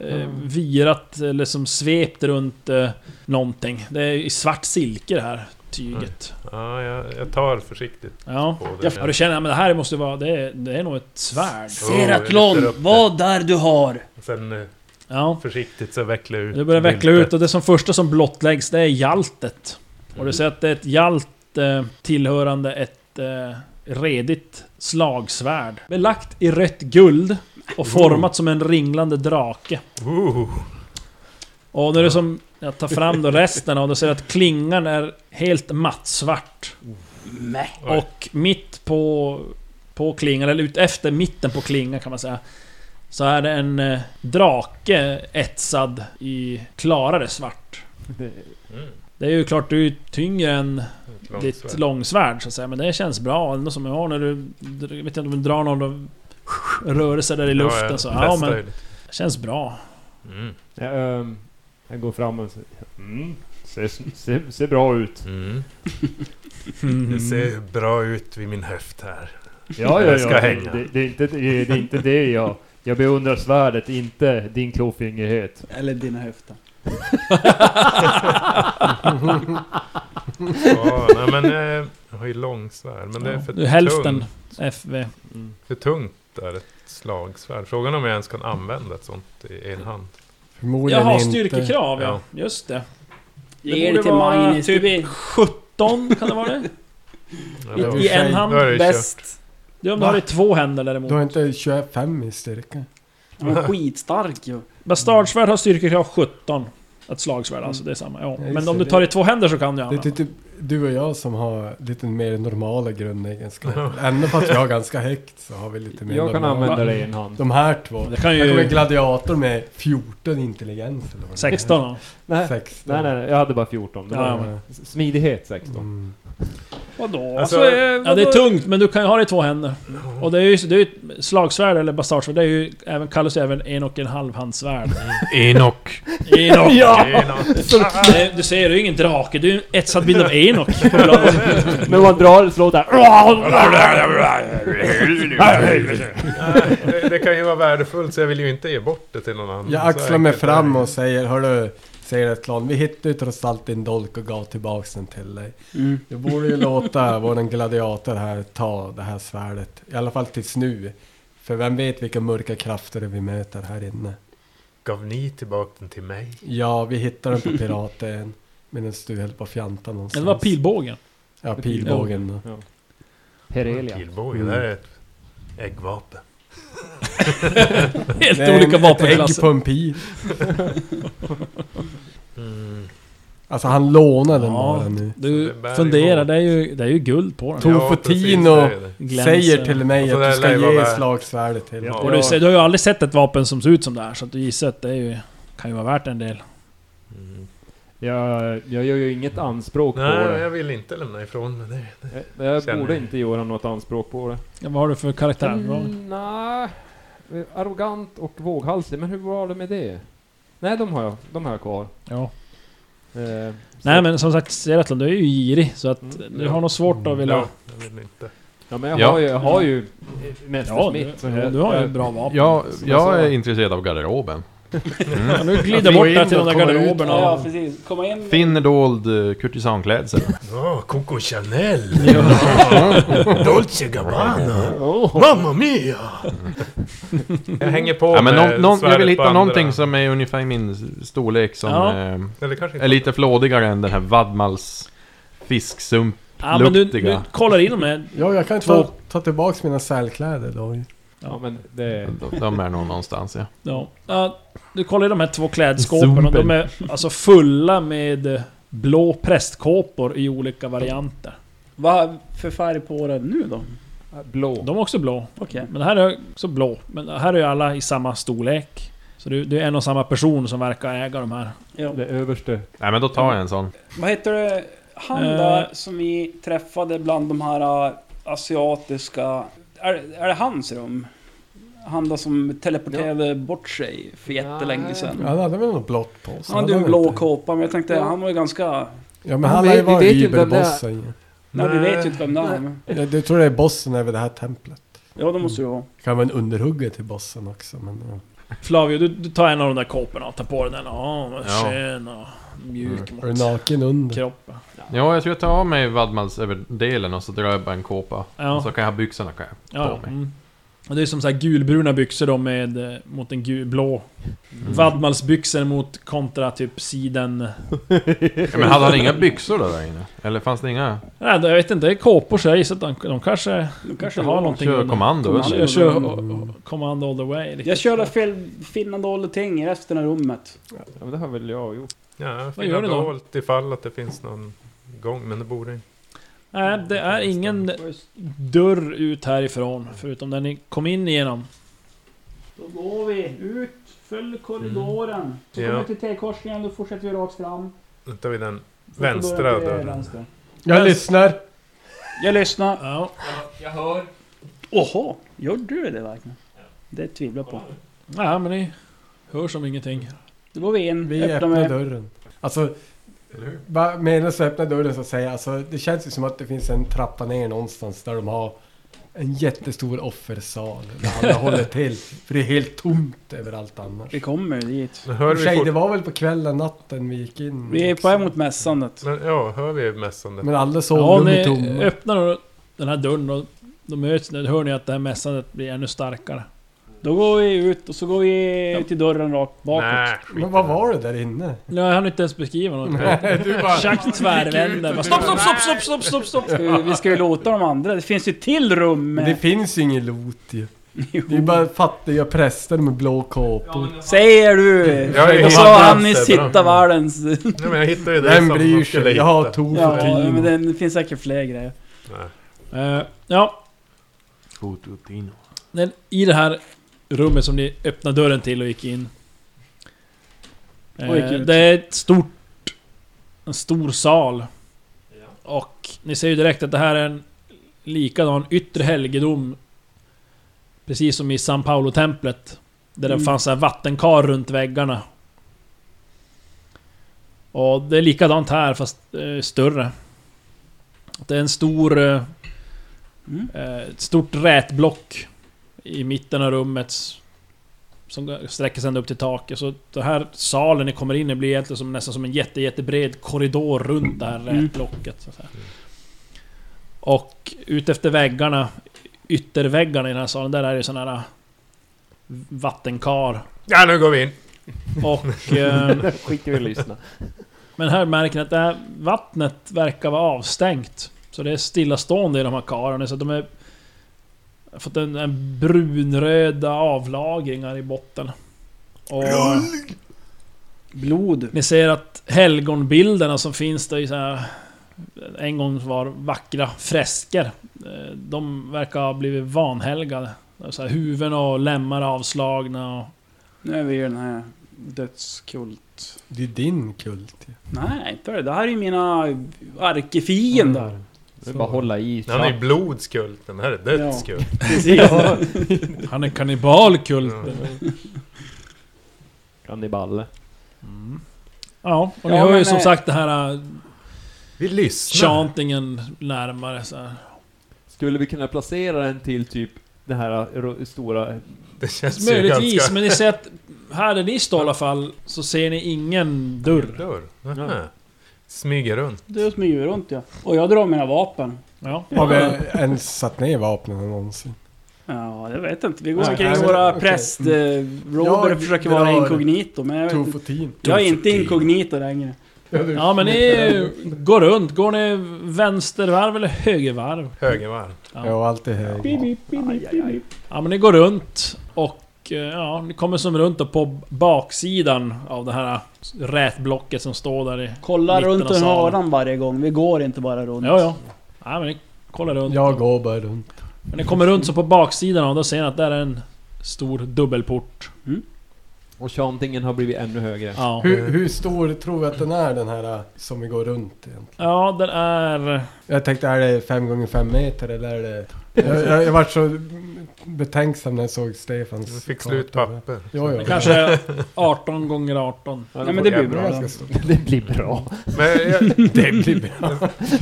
S3: Eh,
S5: Mm.
S3: virat eller som svept runt eh, någonting. Det är i svart silke det här tyget.
S5: Ja, jag, jag tar försiktigt
S3: Ja.
S5: på Mm. det.
S3: ja, du känner att det här måste vara... Det är, det är nog ett svärd.
S5: Seratlon, Oh, jag lyfter upp det. vad
S6: där du har!
S5: Sen eh,
S3: Ja.
S5: försiktigt så vecklar jag ut.
S3: Det börjar veckla ut
S5: viltet.
S3: och det som första som blottläggs det är jaltet. Och du ser att det är ett jalt eh, tillhörande ett eh, redigt slagsvärd. Belagt i rött guld och format som en ringlande drake.
S5: Oh,
S3: Och när du som jag tar fram då resten och då ser du att klingan är helt mattsvart.
S6: Mäh.
S5: Oj.
S3: Och mitt på, på klingan, eller ut efter mitten på klingan kan man säga. Så är det en eh, drake etsad i klarare svart.
S5: Mm.
S3: Det är ju klart du är tyngre än ditt långsvärd så att säga, men det känns bra ändå som jag har när du... alltså. dr- Vet jag inte om du drar någon rörelse där i luften så. Ja men... Känns bra.
S5: Mm.
S7: Jag, ehm, jag går fram och säger mm, ser, ser, ser bra ut.
S5: Mm. Det
S3: Mm.
S5: ser bra ut vid min höft här.
S7: Ja, ja,
S5: Jag ska
S7: ja.
S5: hänga.
S7: Det, det, är inte, det, är- det är inte det jag... Jag beundrar svärdet, inte din klåfingrighet.
S6: Eller dina höfter.
S5: Ja, nej, men eh, jag har ju långsvärd. Men det är för
S3: Du, Hälften
S5: tungt.
S3: FV.
S5: För tungt är ett slagsvärd. Frågan om jag ens kan använda ett sånt i en hand.
S4: Förmodligen
S3: Jaha,
S4: inte.
S3: styrkekrav ja.
S5: Ja.
S3: Just det.
S6: Ge
S3: borde
S6: det till
S3: vara
S6: Magnus.
S3: typ
S6: det blir
S3: 17, kan det vara det?
S5: Ja,
S4: I-
S5: då-
S3: I en
S5: då
S3: hand.
S5: är det kört.
S6: bäst.
S3: Ja, om du har det i två händer däremot.
S4: Du har inte 25 i styrka?
S6: Han är skitstark ju.
S3: Bastardsvärd har styrkekrav 17. Ett slagsvärd alltså, det är samma. Ja.
S4: Ja,
S3: Men
S4: just
S3: om
S4: det.
S3: du tar det i två händer så kan du
S4: Det är
S3: använda.
S4: typ du och jag som har lite mer normala
S5: (laughs)
S4: grundegenskaper. Ändå fast jag har ganska högt så har vi lite mer
S7: Jag kan
S4: normala.
S7: använda det i en hand.
S4: De här två.
S3: Det kan
S4: Här kommer en
S3: ju...
S4: gladiator med 14 intelligens. Eller vad det är.
S3: 16 ja.
S7: Nej,
S4: 16.
S7: nej, nej, jag hade bara 14. Det var
S3: Ja,
S7: Smidighet 16.
S4: Mm.
S3: Vadå?
S5: Alltså,
S3: Alltså, eh, ja, det är tungt, men du kan ju ha det i två händer. Och det är ju det är ju ett slagsvärd eller bastardsvärd, det är ju, även, kallas ju även en och en halv handsvärd.
S8: Enok.
S4: (laughs)
S3: Enok!
S5: Ja. Det är något-
S3: Nej, du ser, du är ingen drake, du är en etsad bild av Enok.
S4: (laughs)
S7: Men man drar ett slår där.
S5: Nej, det, det kan ju vara värdefullt så jag vill ju inte ge bort det till någon annan.
S4: Jag
S5: Så
S4: axlar mig
S5: enkelt är det
S4: fram
S5: ju.
S4: och säger Hörru, säger Etlan, vi hittade ju trots allt din dolk och gav tillbaks den till dig.
S6: Mm.
S4: Du borde ju (laughs) låta våran gladiator här ta det här svärdet. I alla fall tills nu. För vem vet vilka mörka krafter vi möter här inne.
S5: Gav ni tillbaka den till mig?
S4: Ja, vi hittade den på piraten. Medan du höll på att fjanta
S3: Det
S4: någonstans.
S3: var pilbågen.
S4: Ja, pilbågen. då.
S7: Herelia.
S5: Pilbåge, det här är ett äggvapen.
S3: Helt
S4: Det är en-
S3: olika
S4: Ett ägg
S3: vapenklasser.
S4: på en pil.
S5: Mm.
S4: Alltså han lånade den
S3: Ja.
S4: bara nu.
S3: Du
S5: Det bär
S3: funderar,
S5: emot.
S3: det är ju, det är ju guld på den.
S4: Tog
S5: Ja,
S4: för
S5: precis,
S4: tin
S5: det
S4: och-
S5: är det.
S3: Glänser.
S4: Säger till mig
S5: Och så
S4: att du
S5: där
S4: ska
S5: lär jag
S4: ge
S5: vara-
S4: slagsvärdet till
S5: Ja.
S4: ja.
S3: Och du, ser- du har ju aldrig sett ett vapen som ser ut som det här, så att du gissar att det är ju, kan ju vara värt en del.
S5: Mm.
S7: Jag, jag gör ju inget anspråk på
S5: Nej,
S7: det.
S5: jag vill inte lämna ifrån mig det.
S7: Jag, jag
S5: Känner-
S7: borde inte göra något anspråk på det.
S3: Ja, vad har du för karaktär?
S7: Mm, Nej, Eh, arrogant och våghalsig, men hur var det med det? Nej, de har jag, de har jag kvar.
S3: Ja.
S7: Eh,
S3: Nej
S7: så-
S3: men som sagt, Seratlon du är ju girig, så att
S7: Mm.
S3: du har nog svårt att vilja...
S5: Ja, jag vill inte.
S7: Ja, men jag
S8: Ja.
S7: har ju, jag har ju eh, Mäster
S3: Ja, du,
S7: Smith. så jag-
S3: du har ju
S7: jag-
S3: ett bra vapen.
S8: Jag,
S7: Som jag sa.
S8: jag är intresserad av garderoben.
S3: Ja, nu glider bort där till de där garderoberna.
S6: Ja,
S3: Ja,
S6: precis. Komma in.
S8: Finner dold eh, kurtisanklädsel.
S5: Ja, Coco Chanel! (laughs) Dolce Gabbana! Mamma mia! (laughs) Jag hänger på
S8: Ja, men
S5: med
S8: någon, någon, jag
S5: svärdet
S8: vill
S5: på
S8: hitta
S5: andra.
S8: någonting som är ungefär min storlek som
S3: Ja.
S8: eh,
S5: Eller kanske inte.
S8: är lite flådigare än den här vadmals fisksump.
S3: ja men du,
S8: luktiga.
S3: du kollar in dem här.
S4: Ja, jag kan
S3: Två.
S4: ta, ta tillbaks mina sälkläder då. ju.
S7: Ja, men det...
S8: De, de är nog någonstans ja.
S3: Ja. Ja, du kollar i de här två klädskåpen och de är alltså fulla med eh, blå prästkåpor i olika varianter.
S6: Vad för färg på den nu då?
S7: Blå.
S3: De är också blå.
S6: Okej.
S3: Men det här är också blå. Men här är ju alla i samma storlek. Så du, du är en och samma person som verkar äga de här.
S6: Ja.
S7: Det överste.
S8: Nej men då tar jag en sån.
S6: Vad heter det? Han
S3: Eh.
S6: där som vi träffade bland de här äh, asiatiska... Är, är det hans rum? Han där som teleporterade bort sig för jättelänge
S7: Nej.
S6: sedan.
S4: Han hade väl något blått på sig?
S6: Han hade ju en blå
S4: inte.
S6: kåpa, men jag tänkte han var ju ganska...
S4: Ja men
S9: Ja,
S4: han
S9: vi-
S4: har ju
S9: vi
S4: varit
S9: vet ju inte vem det är. typ
S4: Ybelbossen
S6: Nej, vi vet ju inte vem det är. men-
S4: ju. Jag tror det är bossen över det här templet.
S6: Ja, det måste det vara.
S4: Det kan vara en underhuggare till bossen också men... ja.
S3: Flavio, du, du tar en av de där kåporna och tar på dig den. Ja, vad
S8: Ja.
S3: skön och mjuk
S4: Är du
S3: mot
S4: naken under?
S3: kroppen.
S8: Ja jag tror jag tar av mig vadmals överdelen och så drar jag bara en kåpa.
S3: Ja.
S8: Och så kan jag ha byxorna kan jag
S3: Ja,
S8: på mig.
S3: mm. Och det är som så här gulbruna byxor då med, eh, mot en gul, blå.
S8: Mm.
S3: Vadmalsbyxor mot kontra typ siden...
S8: Ja, men hade han inga byxor då där inne? Eller fanns det inga?
S3: Nej, jag vet inte, det är kåpor så jag gissar att de, de kanske...
S6: De kanske
S3: inte har
S6: har
S3: någonting
S8: Kör
S3: under.
S8: kommando
S6: Kommando.
S8: eller?
S3: Jag kör command all the way. liksom.
S6: Jag körde fel finnande och ting i resten av rummet.
S7: Ja, men det har väl jag (laughs) gjort.
S5: Ja, jag
S3: Vad gör
S5: finner
S3: du då?
S5: dolt ifall att det finns någon gång, men det borde inte.
S3: Nej, det är ingen dörr ut härifrån, förutom den ni kom in igenom.
S6: Då går vi ut, följ korridoren. Så
S5: Ja.
S6: kommer vi till T-korsningen, då fortsätter vi rakt fram.
S5: Då tar vi den
S6: Korridoren
S5: vänstra
S6: till
S5: dörren.
S6: vänster.
S4: Jag lyssnar!
S6: Jag lyssnar.
S3: Ja.
S6: Oha, gör du det verkligen? Det tvivlar jag på.
S3: ja, men ni Hör som ingenting.
S6: Då går vi in,
S4: Vi
S6: öppnar
S4: öppnar
S6: med.
S4: dörren. Alltså, va- medan jag öppnar dörren så säger jag, alltså, det känns ju som att det finns en trappa ner någonstans där de har en jättestor offersal där alla håller till. För det är helt tomt överallt annars.
S6: Vi kommer dit.
S5: Men Hör vi,
S4: Tjej,
S5: fort,
S4: det var väl på kvällen, natten vi gick in?
S6: Vi är på
S4: också.
S6: väg mot mässandet.
S5: men, ja, hör vi mässandet?
S4: Men alla
S3: Ja, om
S4: sovrum är
S3: ni
S4: tomma.
S3: öppnar den här dörren och de möts nu, då hör ni att det här mässandet blir ännu starkare.
S6: Då går vi ut och så går vi till dörren rakt bakåt.
S5: Nej,
S4: Men vad var det där
S5: (laughs)
S4: inne?
S3: Nej, Jag hann inte ens beskriva något.
S4: Du bara...
S3: Chuck tvärvänder. bara, Stopp, stopp, stopp, stopp, stopp, stopp, stopp!
S6: Ska vi- Vi ska ju låta de andra. Det finns ju ett till rum.
S4: Men det finns ju ingen lot ju. Det är bara fattiga präster med blå kåpor.
S6: Säger du!
S5: Ja, jag
S6: och så
S5: hade
S6: han i
S5: haft det,
S6: sitta
S5: bra.
S6: världens...
S5: nej, men jag hittade ju det
S4: Vem
S5: som
S4: bryr
S5: de skulle
S4: sig? Jag har
S5: hitta.
S4: Tor för
S6: Ja, men
S4: tio.
S6: det det finns säkert fler grejer.
S5: Nej.
S3: Eh, ja, men i det här rummet som ni öppnade dörren till och gick in. eh,
S6: Och gick ut.
S3: det är ett stort... En stor sal. Och ni ser ju direkt att det här är en likadan yttre helgedom. Precis som i San Paolo-templet. Där det
S6: Mm.
S3: fanns så här vattenkar runt väggarna. Och det är likadant här fast eh, större. Det är en stor... Eh,
S6: Mm.
S3: eh, ett stort rätblock i mitten av rummet. s- Som sträcker sig ända upp till taket. Så den här salen ni kommer in i blir egentligen som, nästan som en jätte, jättebred korridor runt det här
S6: Mm.
S3: rätblocket. Så att säga. Och ut efter väggarna, ytterväggarna i den här salen, där är det sådana här eh, vattenkar.
S5: Ja, nu går vi in.
S3: Och... ehm,
S7: Skit i att lyssna.
S3: Men här märker ni att det här vattnet verkar vara avstängt. Så det är stillastående i de här karlarna. Så att de är... har Fått en, en brunröda avlagringar i botten. Och
S6: Blod.
S3: ni ser att helgonbilderna som finns där i så här En gång var vackra fresker. eh, De verkar ha blivit vanhelgade. Så här, huvuden och lemmar avslagna och...
S6: Nu är vi ju den här dödskult...
S4: Det är din kult ju.
S6: Nej, inte det. Det här är ju mina arkefiender.
S4: Mm.
S7: Det är bara att hålla i.
S5: Han är blodskult, den här är dödskult.
S6: Precis.
S3: Han är kannibalkult.
S7: Kanniballe.
S3: Ja, och ni
S6: Ja,
S3: hör ju
S6: men,
S3: som
S6: eh,
S3: sagt det här eh,
S5: Vi lyssnar.
S3: chantingen närmare så här.
S7: Skulle vi kunna placera den till typ det här ro- stora...
S5: Det känns ju
S3: Möjligtvis,
S5: ganska...
S3: men ni ser att här där ni står i alla fall så ser ni ingen dörr.
S5: Dörr. Nähä. Smyger runt.
S6: Du smyger runt ja. Och jag drar mina vapen.
S3: Ja.
S4: Har vi ens satt ner vapnen någonsin?
S6: Ja, jag vet inte. Vi går
S4: Nej,
S6: omkring i
S4: nej,
S6: våra
S4: okej.
S6: prästrober och
S4: Jag
S6: försöker vara
S4: drar-
S6: inkognito. Men jag, vet inte.
S4: Tofotin.
S6: jag är inte inkognito längre.
S3: ja, men ni går runt. Går ni vänstervarv eller högervarv?
S5: Högervarv.
S4: Ja, alltid hög.
S3: Ja, men ni går runt och eh, ja, ni kommer som runt och på baksidan av det här rätblocket som står där i...
S6: Kolla
S3: Mitten
S6: runt
S3: av
S6: en
S3: salen.
S6: hörnan varje gång. Vi går inte bara runt.
S3: Ja, ja. Ja, men ni kollar runt.
S4: Jag går bara runt.
S3: Men ni kommer runt så på baksidan och då ser ni att där är en stor dubbelport.
S7: Och chantingen har blivit ännu högre.
S3: Ja.
S4: Hur, hur stor tror vi att den är den här äh, som vi går runt egentligen?
S3: Ja, den är...
S4: Jag tänkte, är det 5 gånger 5 meter eller är det... Jag, jag, jag var så betänksam när jag såg
S5: Vi
S4: Stefans...
S5: fick
S4: karta.
S5: slut papper.
S4: Ja, ja.
S3: Kanske 18 gånger 18.
S6: Nej, men det blir bra.
S4: Ganska
S6: då.
S4: stor.
S7: Det blir bra.
S5: Men jag, det blir bra.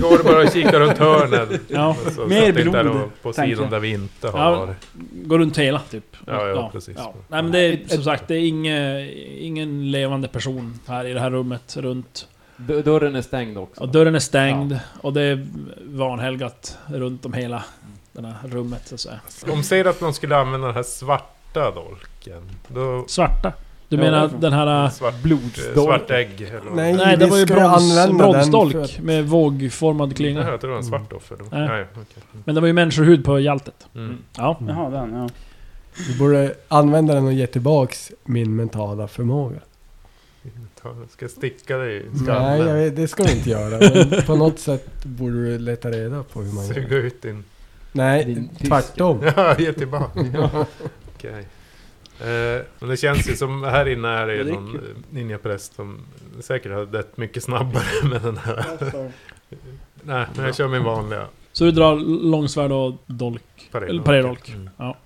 S5: Går bara och kikar runt hörnen.
S3: Ja,
S5: Så- så
S6: mer
S5: att det inte är
S6: blod,
S5: någon På
S6: tänker
S5: sidan
S6: jag.
S5: där vi inte har
S3: Ja.
S5: varit.
S3: Går runt hela typ.
S5: Ja, ja, precis.
S3: Nej men det är som sagt, det är inge, ingen levande person här i det här rummet runt.
S7: D- Dörren är stängd också.
S3: Och dörren är stängd och det är vanhelgat runt om hela det här rummet så att säga.
S5: Om säger att man skulle använda den här svarta dolken. Då...
S3: Svarta. Du
S7: Ja,
S3: menar
S7: varför?
S3: den här...
S5: Svart,
S7: Blodsdolk.
S5: eh, svart ägg eller vad
S4: Nej.
S5: det
S3: Nej, det
S4: vi
S3: var ju
S4: ska ju
S3: brons,
S4: använda den
S3: bronsdolk
S4: för att-
S3: med vågformad
S5: är. Jaha,
S3: klinga.
S5: jag tror det var en svart offer då.
S3: Nej.
S5: Nej, okej.
S3: Men det var ju människohud på hjaltet.
S5: Mm.
S3: Ja.
S6: Jaha, den ja.
S4: Vi borde använda den och ge tillbaks min mentala förmåga.
S5: Ta- Ska jag sticka dig i
S4: Nej, jag
S5: skallen?
S4: vet, det ska vi inte göra. Men på något sätt borde du leta reda på hur man
S5: Suga
S4: gör.
S5: ut din... (laughs)
S4: Nej,
S7: Din tysk.
S4: tvärtom.
S5: Ja,
S4: (laughs)
S5: ge tillbaka. Okej. Eh, men det känns ju som här inne är det ju
S6: Ja, det är
S5: någon eh, ninjapräst som säkert hade dött mycket snabbare (laughs) med den här. Nej, men jag kör min vanliga
S3: Så du drar långsvärd och dolk. Eller
S5: paredolk.
S3: paredolk.
S5: Mm.
S3: Ja.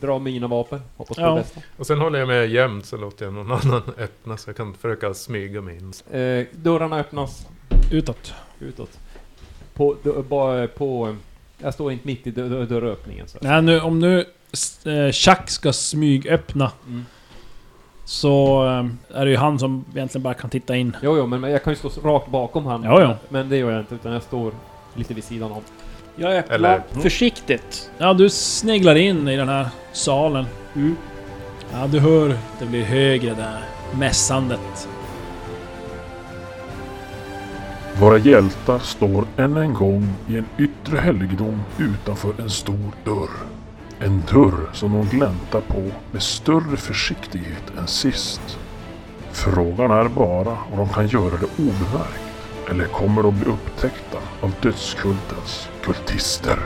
S7: Dra mina vapen. Hoppas på
S3: Ja.
S7: det bästa.
S5: Och sen håller jag mig gömd så låter jag någon (laughs) annan öppna så jag kan försöka smyga mig in.
S7: Eh, dörrarna öppnas
S3: Utåt.
S7: utåt. På, dö- bara på... Jag står inte mitt i dö- dö- dörröppningen. Så.
S3: Nej, nu, om nu s- eh, Chuck ska smygöppna
S7: Mm.
S3: så eh, är det ju han som egentligen bara kan titta in.
S7: Jo, jo, men jag kan ju stå rakt bakom han.
S3: Ja, ja.
S7: Men det gör jag inte, utan jag står lite vid sidan om.
S6: Jag öppnar
S5: Eller-
S6: försiktigt.
S3: Ja, du sneglar in i den här salen.
S6: Mm.
S3: Ja, du hör. Det blir högre där. Mässandet.
S1: Våra hjältar står än en gång i en yttre helgedom utanför en stor dörr. En dörr som de gläntar på med större försiktighet än sist. Frågan är bara om de kan göra det obemärkt. Eller kommer de bli upptäckta av dödskultens kultister?